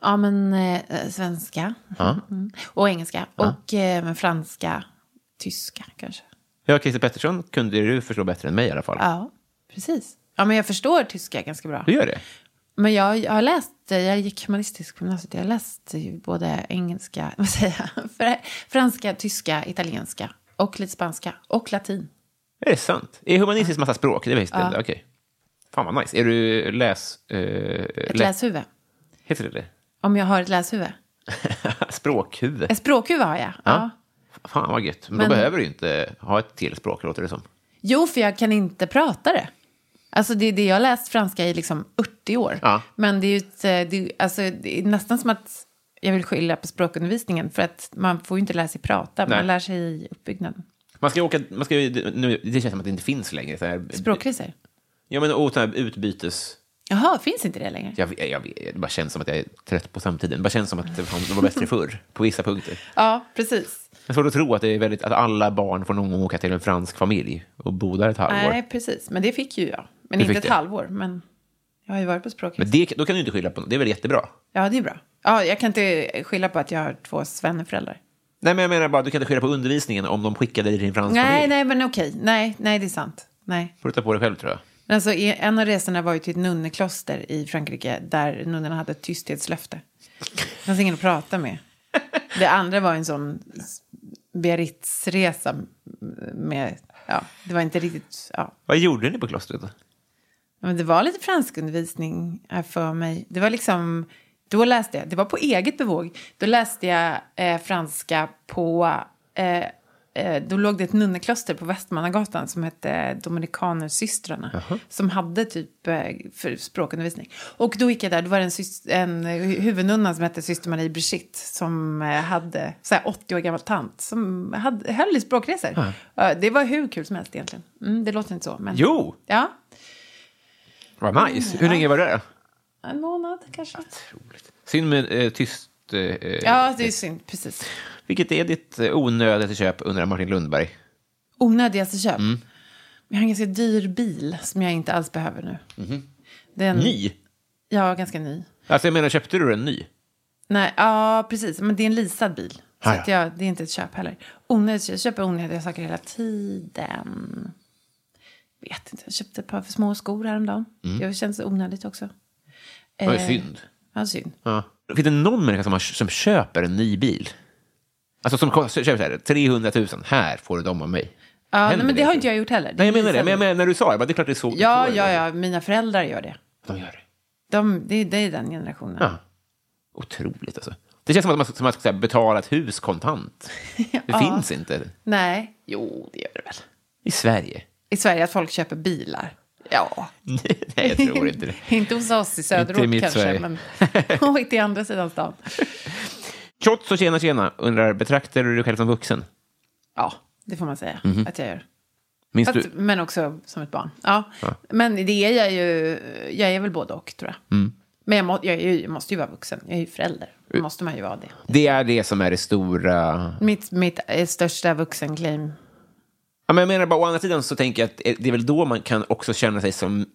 S4: Ja, men eh, svenska.
S3: Ja.
S4: Mm. Och engelska. Och eh, men franska. Tyska kanske.
S3: Ja, Christer Pettersson kunde du förstå bättre än mig i alla fall.
S4: Ja, precis. Ja, men jag förstår tyska ganska bra.
S3: Du gör det?
S4: Men jag, jag har läst, eh, jag gick humanistisk på gymnasiet, jag har läst eh, både engelska, vad säger jag, Fr- franska, tyska, italienska och lite spanska och latin.
S3: Är det sant? Är humanistiskt massa språk? Det visste jag inte. Okej. Fan vad nice. Är du läs... eh,
S4: Ett
S3: lä-
S4: läshuvud.
S3: Heter det det?
S4: Om jag har ett läshuvud.
S3: Språkhuvud.
S4: Ett språkhuvud har jag. Ja.
S3: Fan vad gött. Men,
S4: Men-
S3: då behöver du ju inte ha ett till språk, låter det som.
S4: Jo, för jag kan inte prata det. Alltså det är det jag har läst franska i liksom 80 år.
S3: Ja.
S4: Men det är ju ett, eh, det är, alltså, det är nästan som att jag vill skylla på språkundervisningen. För att man får ju inte lära sig prata,
S3: Nej.
S4: man lär sig i uppbyggnaden.
S3: Man ska ju åka... Man ska ju, nu, det känns som att det inte finns längre. Så här,
S4: Språkresor?
S3: Ja, men och så här utbytes...
S4: Jaha, finns inte det längre?
S3: Jag, vet- jag, vet- det bara känns som att jag är trött på samtiden. Det bara känns som att det fan, det var bättre förr, på vissa punkter.
S4: Ja, precis.
S3: Jag har svårt att tro att, det är väldigt, att alla barn får någon gång åka till en fransk familj och bo där ett halvår.
S4: Nej, precis. Men det fick ju jag. Men
S3: Du
S4: inte
S3: fick
S4: ett
S3: det.
S4: halvår. Men jag har ju varit på språkresa.
S3: Men det, då kan du inte skylla på något. Det är väl jättebra?
S4: Ja, det är bra. Ja, jag kan inte skylla på att jag har två svenneföräldrar.
S3: Nej, men jag menar bara, du kan inte skylla på undervisningen om de skickade dig till din franska
S4: Nej,
S3: familj.
S4: nej, men okej. Nej, nej, det är sant. Nej.
S3: får du ta på dig själv, tror jag.
S4: Men alltså, i- en av resorna var ju till ett nunnekloster i Frankrike där nunnorna hade ett tysthetslöfte. Det fanns ingen att prata med. Det andra var en sån Biarritzresa med... Ja, det var inte riktigt... Ja.
S3: Vad gjorde ni på klostret? då?
S4: Men det var lite franskundervisning här för mig. Det var liksom... Då läste jag, det var på eget bevåg, då läste jag eh, franska på... Eh, eh, då låg det ett nunnekloster på Västmannagatan som hette Dominikanersystrarna. Som hade typ eh, för språkundervisning. Och då gick jag där, då var det en, sys- en eh, huvudnunna som hette syster Marie Brigitte. Som eh, hade, så här 80 år gammal tant, som hade, höll i språkresor. Eh, det var hur kul som helst egentligen. Mm, det låter inte så, men...
S3: Jo,
S4: Ja,
S3: vad nice. Hur länge var det? då?
S4: en månad kanske.
S3: Synd med eh, tyst... Eh, eh,
S4: Ja, det är synd. Precis.
S3: Vilket är ditt eh, onödigaste köp, undrar Martin Lundberg.
S4: Onödigaste alltså köp.
S3: Mm.
S4: Men jag har en ganska dyr bil som jag inte alls behöver nu. Den,
S3: Mhm. Ny?
S4: Ja, ganska ny.
S3: Alltså, jag menar, köpte du en ny?
S4: Nej, ja, precis. Men det är en leasad bil. Så
S3: Ah, ja.
S4: att jag, det är inte ett köp heller. Onödigt, köp. jag köper onödiga saker hela tiden. Vet inte, jag köpte ett par för små skor häromdagen. Det känns onödigt också.
S3: Vad Mm. är
S4: Eh,
S3: synd?
S4: Ja, synd.
S3: Ja. Finns det någon människa som, har, som köper en ny bil? Alltså som ko- köper så här, 300 000, här får du dem av mig.
S4: Ja, nej,
S3: Händer
S4: men det har
S3: så?
S4: inte jag gjort heller.
S3: Nej, jag menar det.
S4: leasad
S3: Men jag
S4: bil.
S3: menar, när du sa det, jag bara, det är klart det är så.
S4: Ja,
S3: så är
S4: ja,
S3: det.
S4: ja, mina föräldrar gör det.
S3: De gör det.
S4: De, det, är- det är den generationen.
S3: Ja. Otroligt alltså. Det känns som att man, som man ska så här, betala ett hus kontant. Det finns inte
S4: Nej. Jo, det gör det väl.
S3: i Sverige.
S4: I Sverige att folk köper bilar. Ja.
S3: Nej, jag tror inte det.
S4: inte hos oss
S3: Inte
S4: i
S3: i
S4: söderort
S3: mitt
S4: kanske,
S3: Sverige.
S4: men och inte i andra sidan stan.
S3: Trots och tjena, tjena, undrar, betraktar du dig själv som vuxen?
S4: Ja, det får man säga
S3: Mhm.
S4: att jag gör.
S3: Minns
S4: Fast,
S3: du?
S4: men också som ett barn. Ja. Men det är jag ju, jag är väl både och tror jag.
S3: Mm.
S4: Men jag, må, jag, är ju, jag måste ju vara vuxen, jag är ju förälder.
S3: Eh.
S4: Då måste man ju vara det.
S3: Det är det som är det stora
S4: Mitt, mitt eh, största vuxenclaim.
S3: Ja, men jag menar bara, å andra sidan så tänker jag att eh, det är väl då man kan också känna sig som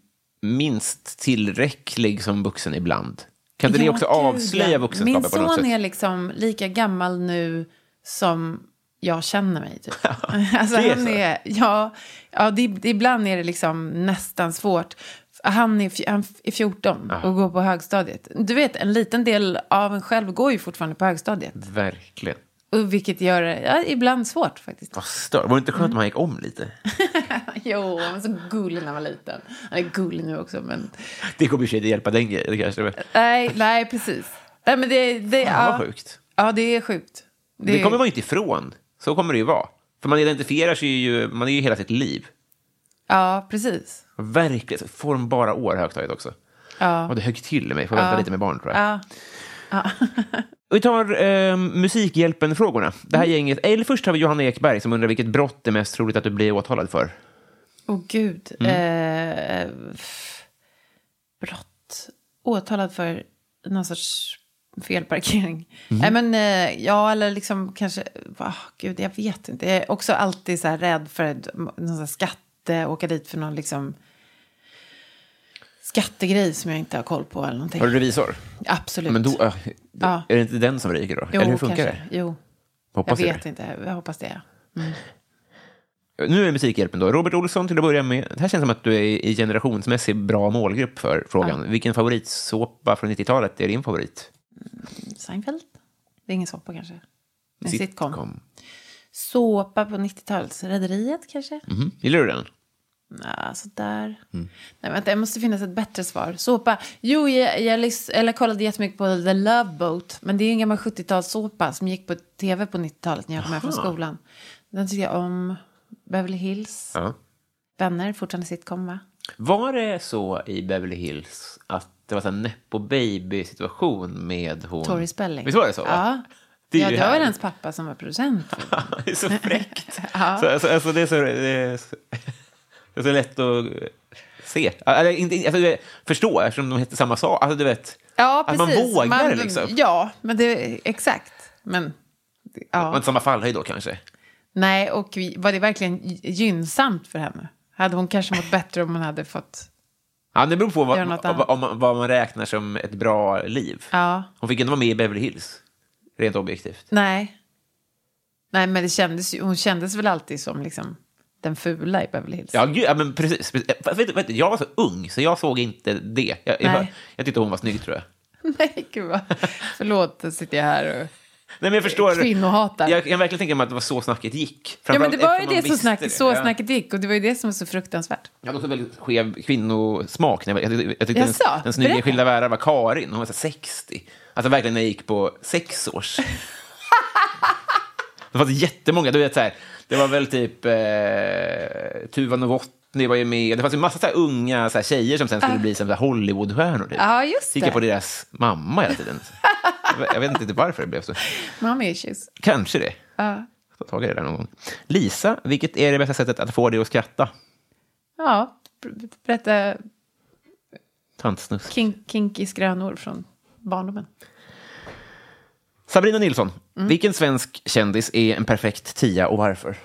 S3: minst tillräcklig som vuxen ibland. Kan inte det
S4: Ja,
S3: också
S4: gud, ja.
S3: avslöja vuxenskapet på
S4: Min
S3: något
S4: son
S3: sätt?
S4: är liksom lika gammal nu som jag känner mig. Typ. alltså,
S3: det är
S4: han
S3: så.
S4: är, ja, ja det, det, ibland är det liksom nästan svårt. Han är, fj- han är 14 och går på högstadiet. Du vet, en liten del av en själv går ju fortfarande på högstadiet.
S3: Verkligen.
S4: Och vilket gör det ja, ibland svårt faktiskt.
S3: Vad stör. Var det inte skönt om han gick om lite?
S4: Mm. Jo, han var så gullig när han var liten. Han är gullig nu också, men...
S3: Det kommer i och för sig inte hjälpa den grejen kanske. men-
S4: Nej, nej precis. Nej, men det, det,
S3: Fan,
S4: Äh, ja,
S3: vad sjukt.
S4: ja, det är sjukt.
S3: Det... kommer man ju inte ifrån. Så kommer det ju vara. För man identifierar sig ju, man är ju hela sitt liv.
S4: Ja, precis.
S3: Verkligen. Formbara år högstadiet också.
S4: Ja.
S3: Och det högg till i mig. Får vänta lite med barn tror jag.
S4: Ja.
S3: Vi tar eh, Musikhjälpen-frågorna. Det
S4: Mm.
S3: här gänget. Eller först har vi Johanna Ekberg som undrar vilket brott det är mest troligt att du blir åtalad för.
S4: Åh gud.
S3: Mm.
S4: Eh, f- brott. Åtalad för någon sorts felparkering.
S3: Mm.
S4: Nej men eh, ja, eller liksom kanske, ah, gud jag vet inte. Jag är också alltid så här rädd för ett- någon sån här skatte, åka dit för någon liksom skattegrej som jag inte har koll på eller någonting.
S3: Har du revisor?
S4: Absolut.
S3: Men då, eh,
S4: Ja.
S3: Är det inte den som ryker då?
S4: jo,
S3: Eller hur funkar
S4: kanske. Jo,
S3: det? Hoppas
S4: jag
S3: det.
S4: vet inte. Jag hoppas det.
S3: Nu är det Musikhjälpen då. Robert Olsson till att börja med. Det här känns som att du är i generationsmässig bra målgrupp för frågan. Vilken favoritsåpa från 90-talet är din favorit?
S4: Seinfeld? Det är ingen såpa kanske? En sitcom.
S3: Sitcom.
S4: Såpa på 90-talet. Rederiet kanske?
S3: Mhm. Gillar du den?
S4: Nja, sådär.
S3: Mm.
S4: Nej, vänta, det måste finnas ett bättre svar. Såpa. Jo, jag, jag, lys- eller kollade jättemycket på The Love Boat. Men det är ju en gammal 70-talssåpa som gick på tv på 90-talet när jag kom hem från skolan. Den tycker jag om. Beverly Hills.
S3: Ja.
S4: Vänner, fortfarande sitcom va?
S3: Var det så i Beverly Hills att det var så här Nepo Baby-situation med hon...
S4: Tori Spelling.
S3: Visst var det så? va?
S4: Ja.
S3: Det är
S4: ja,
S3: ju
S4: det var
S3: här.
S4: ju hennes pappa som var producent.
S3: Det är så fräckt. så, alltså, alltså, det, är så, det, är så, det är så lätt att eh, se. Eller, inte, alltså, det- förstå, eftersom de heter samma sak. Alltså, du vet,
S4: Ja,
S3: att man
S4: precis.
S3: vågar liksom.
S4: Ja, men det, exakt. Men, det-
S3: Det
S4: ja.
S3: var inte samma fallhöjd då kanske.
S4: Nej, och vi- var det verkligen gy- gynnsamt för henne? Hade hon kanske mått bättre om hon hade fått
S3: Ja, det beror på
S4: Gör
S3: vad,
S4: något
S3: vad,
S4: annat.
S3: vad, man, vad man räknar som ett bra liv.
S4: Ja.
S3: Hon fick inte vara med i Beverly Hills, rent objektivt.
S4: Nej. Nej, men det kändes, ju- hon kändes väl alltid som liksom, den fula i Beverly Hills.
S3: Ja, gud, ja men precis. precis. Eh, Vet, du- vet, du, jag var så ung, så jag såg inte det. Jag, jag,
S4: Nej.
S3: bara, jag tyckte hon var snygg, tror jag.
S4: Nej, gud vad... Förlåt, då sitter jag här och...
S3: Nej, men jag förstår.
S4: Kvinnohatare.
S3: Jag kan verkligen tänka mig att det var så snacket gick.
S4: Ja, men det var ju
S3: Framförallt eftersom
S4: det,
S3: man
S4: som
S3: visste
S4: snack,
S3: det.
S4: så
S3: Ja.
S4: snacket gick och det var ju det som var så fruktansvärt.
S3: Jag hade också väldigt skev kvinnosmak. När jag, jag, tyckte- jag tyckte den,
S4: Jaså?
S3: den snygga i
S4: Berätta.
S3: Skilda Världar var Karin. Hon var så här 60. Alltså verkligen när jag gick på sex års. det fanns jättemånga. Du vet, så här, det var väl typ eh, Tuva Novotny var ju med. Det fanns en massa så här, unga så här, tjejer som sen skulle bli som så här, Hollywoodstjärnor. Typ.
S4: Ah. Ja, just
S3: Så gick jag
S4: det.
S3: på deras mamma hela tiden. jag vet inte varför det blev så.
S4: Mommy issues.
S3: Kanske det.
S4: Ja.
S3: Jag får ta tag i det där någon gång. Lisa, vilket är det bästa sättet att få dig att skratta?
S4: Ja, ber- berätta
S3: Tantsnusk.
S4: kink, kinky skrönor från barndomen.
S3: Sabrina Nilsson,
S4: Mm.
S3: vilken svensk kändis är en perfekt tia och varför?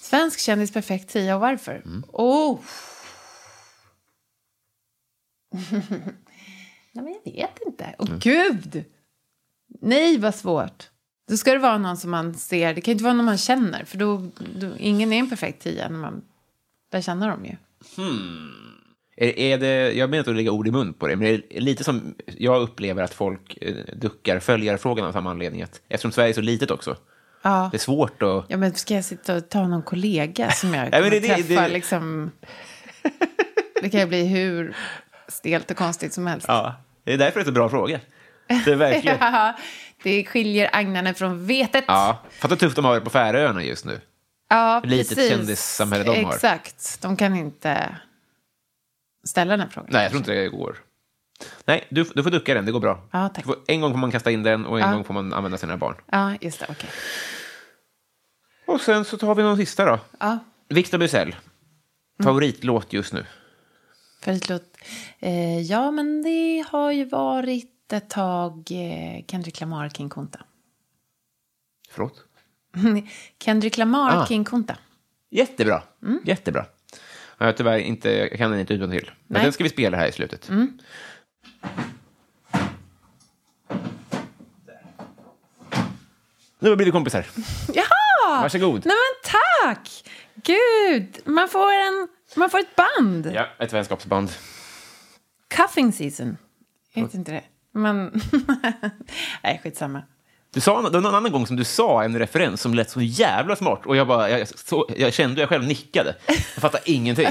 S4: Svensk kändis perfekt 10 och varför?
S3: Mm.
S4: Oh. Nej, men jag vet inte. Åh,
S3: Mm.
S4: gud! Nej, vad svårt. Då ska det vara någon som man ser. Det kan ju inte vara någon man känner. För då, då, ingen är en perfekt tia när man lär känna dem ju.
S3: Är, är det, jag menar inte att lägga ord i mun på det, men det är lite som jag upplever att folk eh, duckar följarfrågan av samma anledning. Att, eftersom Sverige är så litet också.
S4: Ja.
S3: Det är svårt att...
S4: ja, men ska jag sitta och ta någon kollega som
S3: men
S4: jag kommer
S3: det- det-
S4: träffa?
S3: det-
S4: Liksom, det kan ju bli hur stelt och konstigt som helst.
S3: Ja, det är därför det är så bra fråga. Det är verkligen...
S4: Ja, det skiljer agnarna från vetet.
S3: ja, fatta hur tufft de har det på Färöarna just nu.
S4: Ja,
S3: Hur litet
S4: precis.
S3: kändissamhälle de har.
S4: Exakt. De kan inte ställa den här frågan.
S3: Nej, jag tror inte det går. Nej, du, du får ducka den, det går bra.
S4: Ja, tack.
S3: Du får, en gång får man kasta in den och en gång får man använda sina barn.
S4: Ja, just det. Okej.
S3: Och sen så tar vi någon sista då.
S4: Ja,
S3: Victor
S4: Mm.
S3: Bysell, favoritlåt just nu?
S4: favoritlåt. Eh, ja, men det har ju varit ett tag eh, Kendrick Lamar, King Kunta.
S3: Förlåt?
S4: Kendrick Lamar,
S3: Ah.
S4: King Kunta.
S3: Jättebra. Jättebra. Ja, Jag, tyvärr inte, jag kan den inte utan till. Men
S4: Nej.
S3: den ska vi spela här i slutet. Nu har vi blivit kompisar.
S4: Jaha!
S3: Varsågod.
S4: Nej, men tack! Gud, man får, en, man får ett band.
S3: Ja, ett vänskapsband.
S4: Cuffing season. Jag vet inte det. Men... Nej, skitsamma.
S3: Du sa det var någon annan gång som du sa en referens som lät så jävla smart och jag, bara, jag, så, jag kände hur jag själv nickade. Jag fattar ingenting.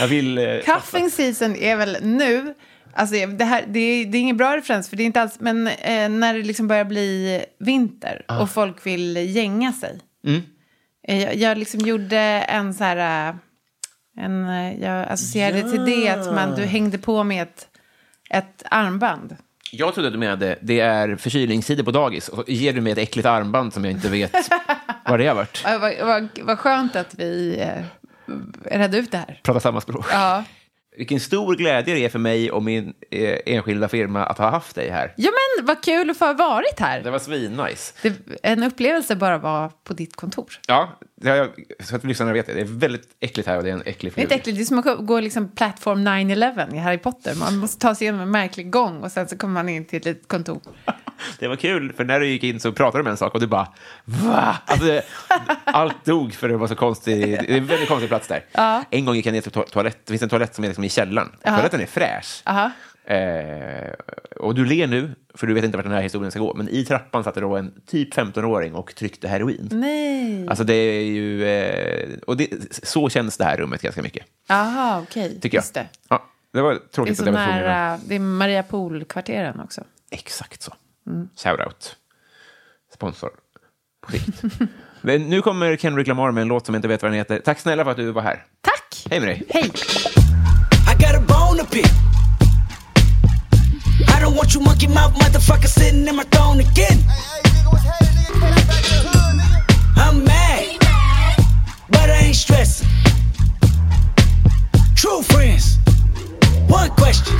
S3: Jag vill... eh,
S4: Cuffing season är väl nu... Alltså det, här, det, är, det är ingen bra referens, för det är inte alls... Men eh, när det liksom börjar bli vinter och folk vill gänga sig. Eh, jag, jag liksom gjorde en så här... eh, En, eh, jag associerade till det att man, du hängde på med ett, ett armband.
S3: Jag trodde att du menade det är förkylningstider på dagis och så ger du mig ett äckligt armband som jag inte vet vad det har varit.
S4: Eh, Vad, vad, vad skönt att vi eh, redde ut det här.
S3: Prata samma språk.
S4: Ja.
S3: Vilken stor glädje det är för mig och min eh, enskilda firma att ha haft dig här.
S4: Ja, men vad kul att få ha varit här.
S3: Det var svinnice.
S4: Det, en upplevelse bara var på ditt kontor.
S3: Ja, det har jag, så att lyssnarna vet det. Det är väldigt äckligt här och det är en äcklig firma.
S4: Det är inte äckligt, det är som att gå liksom plattform 9-11 i Harry Potter. Man måste ta sig igenom en märklig gång och sen så kommer man in till ett litet kontor.
S3: Det var kul, för när du gick in så pratade du om en sak och du bara va? Alltså, det- allt dog för det var så konstigt. Det är en väldigt konstig plats där. En gång gick jag ner till to- toalett. Det finns en toalett som är liksom i källaren. Toaletten är fräsch. Eh, och du ler nu, för du vet inte vart den här historien ska gå. Men i trappan satt det då en typ 15-åring och tryckte heroin.
S4: Nej.
S3: Alltså det är ju... Eh, och det, så känns det här rummet ganska mycket,
S4: Jaha, okej.
S3: tycker jag.
S4: Just det.
S3: Ja, det var
S4: Det är
S3: tråkigt
S4: så
S3: att jag var tvungen att-
S4: nära, det är Maria Pool-kvarteren också.
S3: Exakt så.
S4: Mm.
S3: Shoutout. Sponsor. På sikt. Men nu kommer Kendrick Lamar med en låt som jag inte vet vad den heter. Tack snälla för att du var här.
S4: Tack!
S3: Hej med dig.
S4: Hej!
S8: I got a bone to pick. I don't want you monkey mouth motherfucker sitting in my throne again. I'm mad, but I ain't stressing. True friends, one question.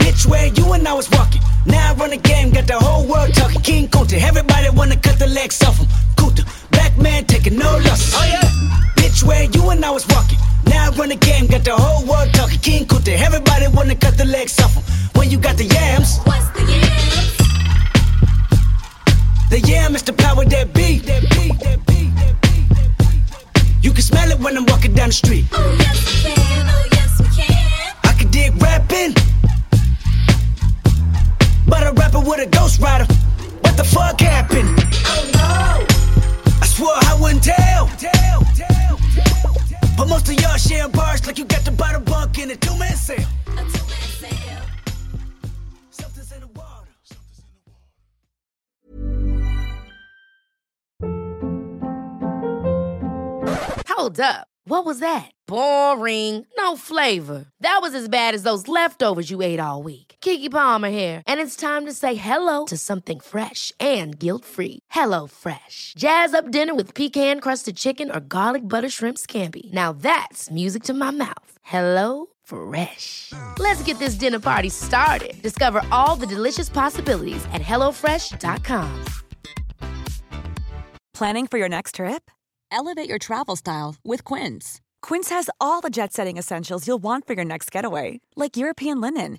S8: Bitch, where you and I was walking. Now I run the game, got the whole world talking. King Kunta, everybody wanna cut the legs off him. Kunta, black man taking no losses. Oh yeah. Bitch, where you and I was walking. Now I run the game, got the whole world talking. King Kuta, everybody wanna cut the legs off 'em. When you got the yams,
S9: What's the yams?
S8: the yam is the power that be. That be, that be, that be, that be, that be. You can smell it when I'm walking down the street.
S9: Oh yes we can, oh yes we can.
S8: I could dig rapping, but I rap it with a ghost rider. What the fuck happened?
S9: Oh no,
S8: I swore I wouldn't tell. tell, tell, tell, tell. But most of y'all sharing bars like you got the bottle bunk in a two man sale.
S9: a two-man sale.
S8: Something's in the water. Something's in the water.
S1: Hold up. What was that? Boring. No flavor. That was as bad as those leftovers you ate all week. Kiki Palmer here, and it's time to say hello to something fresh and guilt-free. Hello Fresh. Jazz up dinner with pecan-crusted chicken or garlic butter shrimp scampi. Now that's music to my mouth. Hello Fresh. Let's get this dinner party started. Discover all the delicious possibilities at hellofresh.com.
S7: Planning for your next trip? Elevate your travel style with Quince. Quince has all the jet setting essentials you'll want for your next getaway, like European linen,